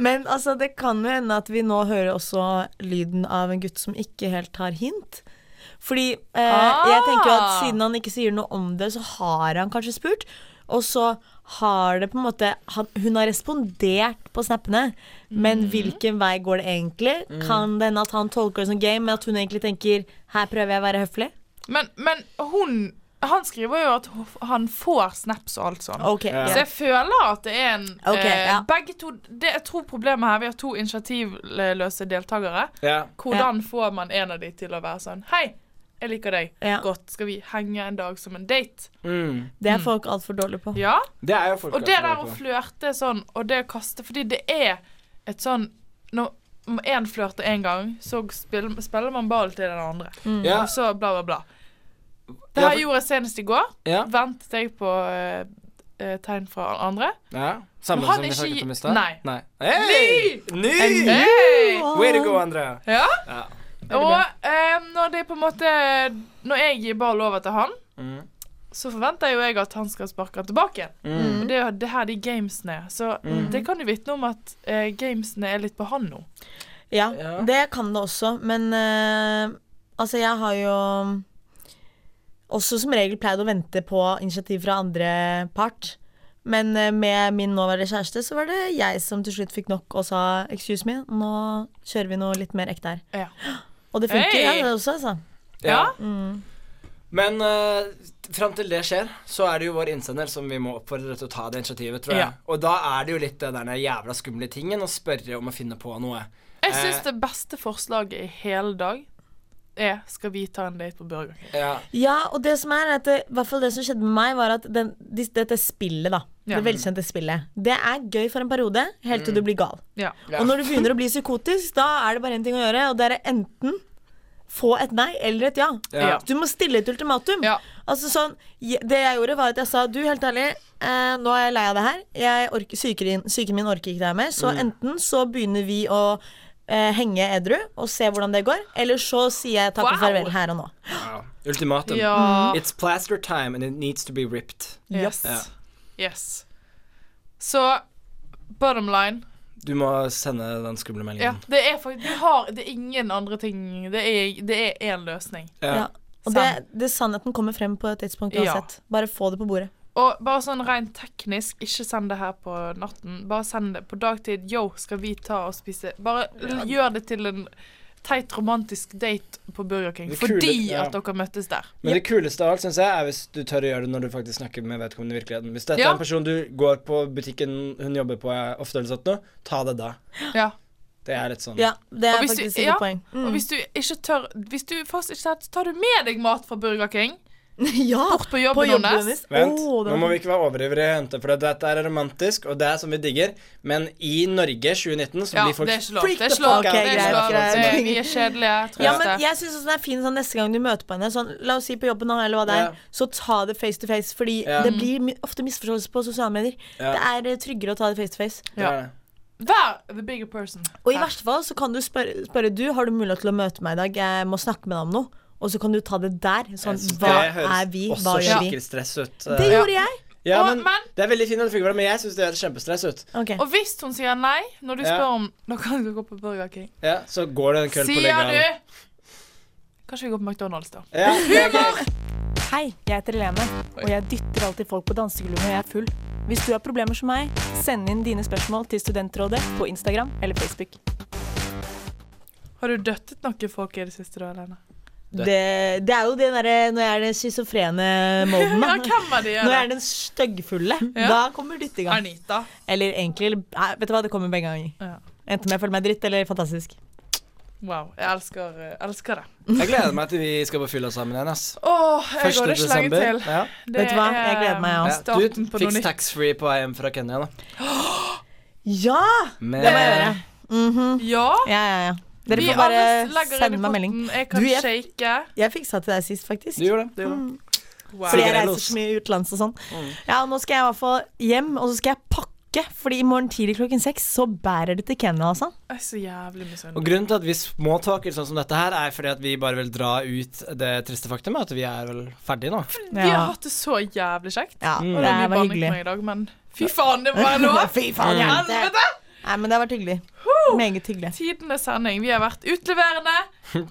C: men altså, det kan jo hende at vi nå hører også lyden av en gutt som ikke helt tar hint. Fordi eh,
A: Ah.
C: jeg tenker jo at siden han ikke sier noe om det, så har han kanskje spurt. Og så har det på en måte han, Hun har respondert på snappene, men
B: Mm.
C: hvilken vei går det egentlig? Kan det hende at han tolker det som game, men at hun egentlig tenker her prøver jeg å være høflig?
A: Men, men hun Han skriver jo at ho- han får snaps og alt sånn.
C: Ok,
B: Ja.
A: Så jeg føler at det er en eh,
C: Ok, ja.
A: Begge to det, Jeg tror problemet her Vi har to initiativløse deltakere.
B: Ja.
A: Hvordan får man en av de til å være sånn Hei, jeg liker deg
C: Ja.
A: godt. Skal vi henge en dag som en date?
B: Mm.
C: Det er folk altfor dårlige på.
A: Ja.
B: Det er jo folk
A: Og det der å flørte sånn, og det å kaste Fordi det er et sånn Når én flørter én gang, så spiller, spiller man ball til den andre.
B: Mm. ja.
A: Og så bla, bla, bla. Det
B: Ja,
A: her
B: for-
A: gjorde jeg senest i går.
B: Ja.
A: Ventet jeg på eh, eh, tegn fra andre.
B: ja. Samme
A: Men han er
B: som vi
A: ikke-
B: snakket om i stad?
A: Nei.
B: Hey! Ny!
A: Hey!
B: Way to go, Andrea.
A: Ja.
B: Ja.
A: Og eh, når det på en måte Når jeg gir ball over til han,
B: Mm.
A: så forventer jo jeg at han skal sparke den tilbake igjen.
B: Mm.
A: Og det er jo det her de gamesene er. Så det kan jo vitne om at eh, gamesene er litt på han nå.
C: Ja,
B: Ja.
C: det kan det også, men eh, altså jeg har jo også som regel pleid å vente på initiativ fra andre part. Men eh, med min nåværende kjæreste så var det jeg som til slutt fikk nok og sa excuse me, nå kjører vi noe litt mer ekte her.
A: Ja.
C: Og det funker,
A: Hey!
C: ja, det også, altså.
A: Ja.
B: Mm. Men uh, fram til det skjer, så er det jo vår innsender som vi må oppfordre til å ta det initiativet, tror jeg.
A: Ja.
B: Og da er det jo litt det der jævla skumle tingen å spørre om å finne på noe.
A: Jeg syns
B: Eh.
A: det beste forslaget i hele dag er Skal vi ta en date på Burger King?
B: Ja.
C: Ja, og det som er, er at det, i hvert fall det som skjedde med meg, var at den, dis- dette spillet, da.
A: Ja. Mm.
C: Det velkjente spillet. Det er gøy for en periode, helt til du blir gal.
A: Ja.
B: Ja.
C: Og når du begynner å bli psykotisk, da er det bare én ting å gjøre, og det er enten få et nei eller et ja.
B: Ja.
C: Du må stille et ultimatum.
A: Ja.
C: Altså sånn, je- Det jeg gjorde, var at jeg sa du, helt ærlig, eh, nå er jeg lei av det her. Jeg orker, syken, syken min orker ikke det her mer.
A: Mm.
C: Så enten så begynner vi å eh, henge edru og se hvordan det går, eller så sier jeg takk og
A: Wow.
C: farvel her og nå.
B: Ja. Ultimatum.
A: Ja.
B: It's plaster time, and it needs to be ripped.
A: Mm. Yes.
B: Ja.
A: yes. Så bottom line
B: Du må sende den skumle meldingen.
A: Ja, det er faktisk Du har Det er ingen andre ting Det er det er én løsning.
B: Ja.
C: Ja. Og det, det sannheten kommer frem på et tidspunkt
A: Ja.
C: uansett. Bare få det på bordet.
A: Og bare sånn rent teknisk, ikke send det her på natten. Bare send det på dagtid. Yo, skal vi ta og spise Bare l- gjør det til en teit romantisk date på Burger King
B: Det er
A: fordi
B: kule- ja.
A: at dere møttes der.
B: Men det kuleste av alt, synes jeg, er hvis du tør å gjøre det når du faktisk snakker med vedkommende i virkeligheten. Hvis dette
A: Ja.
B: er en person du går på butikken hun jobber på eh, ofte eller sånt nå, ta det da.
A: Ja.
B: Det er litt sånn.
C: Ja, det er
A: hvis du-
C: faktisk et
A: ja, *laughs*
C: godt poeng.
A: Og hvis du ikke tør Hvis du først ikke tør, så tar du med deg mat fra Burger King.
C: ja,
A: Bort på jobben, hennes.
B: Vent,
C: Åh, det
B: nå
C: var-
B: må vi ikke være overivrige, jenter, for dette er romantisk, og det er som vi digger, men i Norge 2019 så
A: Ja,
B: blir folk
A: det er ikke lov. Det er
B: the
A: ikke lov.
B: fuck
A: Det
B: out.
A: er ikke lov.
C: greit, greit.
A: Det- Vi er kjedelige. Tror
C: Ja,
A: jeg
C: men
A: det.
C: jeg synes også det er fint sånn neste gang du møter på henne sånn, La oss si på jobben nå, eller hva det er,
B: Ja.
C: så ta det face to face. Fordi
B: Ja.
C: det blir mi- ofte misforståelser på sosiale medier.
B: Ja.
C: Det er eh, tryggere å ta det face to face.
B: Det er det.
A: Vær the bigger person.
C: Og i
A: Her.
C: verste fall så kan du spørre, spørre du, har du mulighet til å møte meg i dag, jeg må snakke med deg om noe. Og så kan du ta det der.
B: Jeg
C: Sånn,
B: synes
C: hva
B: det høres
C: er vi?
B: Også
C: Hva gjør vi?
B: skikkelig stress ut.
C: Det gjorde jeg.
B: Ja,
A: Og-
B: men,
A: men-
B: Det er veldig fint at du fikk være med, men jeg syns det høres kjempestress ut.
C: Ok.
A: Og hvis hun sier nei når du
B: Ja.
A: spør om Nå kan vi gå på Burger King,
B: Ja, så går det en kveld på
A: sier
B: leggen.
A: du Kanskje vi går på McDonald's, da.
B: Ja,
A: *laughs*
B: det er gøy.
G: Hei, jeg heter Helene, og jeg dytter alltid folk på dansegulvet når jeg er full. Hvis du har problemer som meg, send inn dine spørsmål til Studentrådet på Instagram eller Facebook.
A: Har du døttet noen folk i det siste, da, Helene?
C: Oh, Det, det er jo det derre når jeg er den schizofrene moden, *laughs*
A: Ja,
C: da.
A: hvem er de?
C: Når jeg er den styggfulle.
A: Ja.
C: Da kommer dyttinga.
A: Anita.
C: Eller egentlig eller- nei, Vet du hva, det kommer begge ganger.
A: Ja.
C: Enten jeg føler meg dritt eller fantastisk.
A: Wow. Jeg elsker, eh, elsker det.
B: Jeg gleder meg til vi skal på fylla sammen igjen. ass.
A: Åh, jeg
B: 1.
A: går det ikke lenge til.
B: Ja.
A: Det
C: Vet du hva? Jeg gleder meg, ja.
A: er
B: Ja.
A: Starten
B: Du
A: på noe
B: fiks
A: nytt.
B: taxfree på vei hjem fra Kenya, da.
C: Ja!
B: Men,
C: Det må jeg gjøre.
A: Ja.
C: Ja, ja, ja. Dere
A: Vi
C: får bare
A: alle legger inn i
C: sende meg melding.
A: potten. Jeg kan
C: Du, jeg-
A: shake.
C: Jeg fiksa til deg sist, faktisk.
B: Du gjorde det. Du gjorde det.
A: Wow.
C: Fordi jeg
B: Sikkert
C: reiser
B: los. Mm.
C: så mye utenlands og sånn. Ja, og nå skal jeg i hvert fall hjem, og så skal jeg pakke. Fordi i morgen tidlig klokken seks så bærer det til Kenya, altså.
A: Jeg er så jævlig misunnelig.
B: Og Grunnen til at vi småtaker sånn som dette her, er fordi at vi bare vil dra ut det triste faktum at vi er vel ferdige nå.
A: Vi har hatt det så jævlig kjekt.
C: Ja,
B: Mm.
A: Og
C: det
A: det er mye
C: var
A: banning på
C: hyggelig.
A: meg i dag, men fy faen, det var lov!
C: *laughs* Fy faen, jente.
A: Helvete!
C: Nei, men det har vært hyggelig. Meget hyggelig.
A: Tidenes sending. Vi har vært
C: *laughs*
A: utleverende,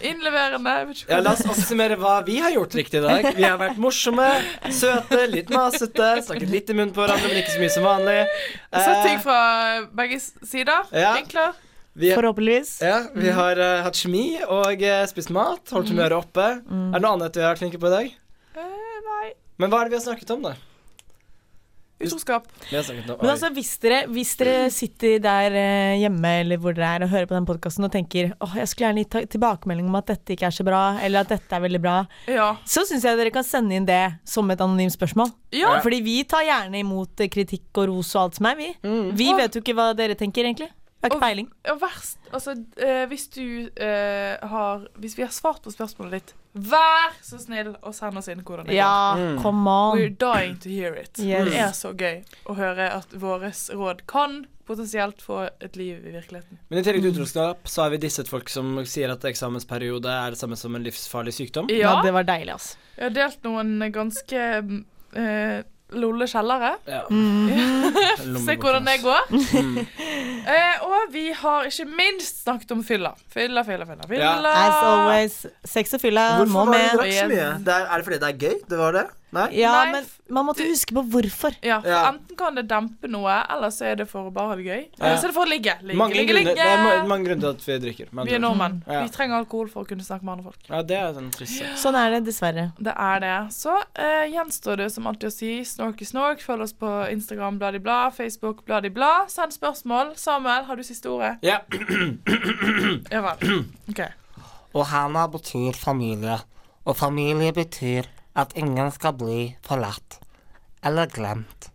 A: innleverende jeg vet ikke
B: Ja,
A: hva-
B: La oss oppsummere hva vi har gjort riktig i dag. Vi har vært morsomme, søte, litt masete, snakket litt i munnen på hverandre, men ikke så mye som vanlig.
A: Sett ting fra begge s- sider.
B: Eh. Ja.
A: Vinkler.
B: vi,
C: Forhåpentligvis.
B: ja,
A: Mm.
B: vi har eh, hatt kjemi og eh, spist mat, holdt humøret oppe. Er det noe annet vi har vært flinke på i dag?
A: Mm. Eh, nei.
B: Men hva er det vi har snakket om, da?
A: Utroskap.
B: Vi har snakket om
C: Men altså, hvis dere, hvis dere sitter der eh, hjemme eller hvor dere er og hører på den podkasten og tenker åh, jeg skulle gjerne gitt ta- tilbakemelding om at dette ikke er så bra, eller at dette er veldig bra,
A: Ja.
C: så syns jeg dere kan sende inn det som et anonymt spørsmål.
A: ja.
C: Fordi vi tar gjerne imot eh, kritikk og ros og alt som er, vi. Vi
A: Og-
C: vet jo ikke hva dere tenker, egentlig. Vi har
A: Og-
C: ikke peiling.
A: Og verst Altså, eh, hvis du eh, har Hvis vi har svart på spørsmålet ditt, vær så snill å send oss inn hvordan det
C: Ja,
B: Mm.
C: come on.
A: We're dying to hear it.
C: *laughs* Yes.
A: Det er så gøy å høre at våres råd kan potensielt få et liv i virkeligheten.
B: Men i tillegg til utroskap så har vi disset folk som sier at eksamensperiode er det samme som en livsfarlig sykdom.
A: Ja,
C: det var deilig, altså.
A: jeg har delt noen ganske eh, lolle kjellere.
B: Ja.
A: Mm.
B: *laughs*
A: Se hvordan det går.
C: Mm.
A: *laughs* Eh, og vi har ikke minst snakket om fylla. Fylla, fylla, fylla.
B: Ja.
A: fylla.
C: As always. Sex og fylla må med.
A: drakk så mye?
B: er det fordi det er gøy? Det var det? Nei?
C: Ja,
A: Nei,
C: men man måtte huske på hvorfor.
A: Ja, for
B: Ja.
A: Enten kan det dempe noe, eller så er det for å bare ha det gøy.
B: Ja.
A: Eller så er det for å ligge. Ligge,
B: Mange
A: ligge,
B: grunner, det er ma-
A: ligge.
B: mange grunner til at vi drikker. med
A: Vi er
B: andre ord.
A: nordmenn.
B: Ja.
A: Vi trenger alkohol for å kunne snakke med andre folk.
B: Ja, det er den triste.
C: Sånn er det, dessverre.
A: Det er det. Så eh, gjenstår det som alltid å si snorky snork. Følg oss på Instagram bladibla, Facebook bladibla. Send spørsmål. Samuel, har du siste ordet?
B: Ja.
A: Ja vel. *clears throat* OK.
H: Og Hana betyr familie, og familie betyr at ingen skal bli forlatt eller glemt.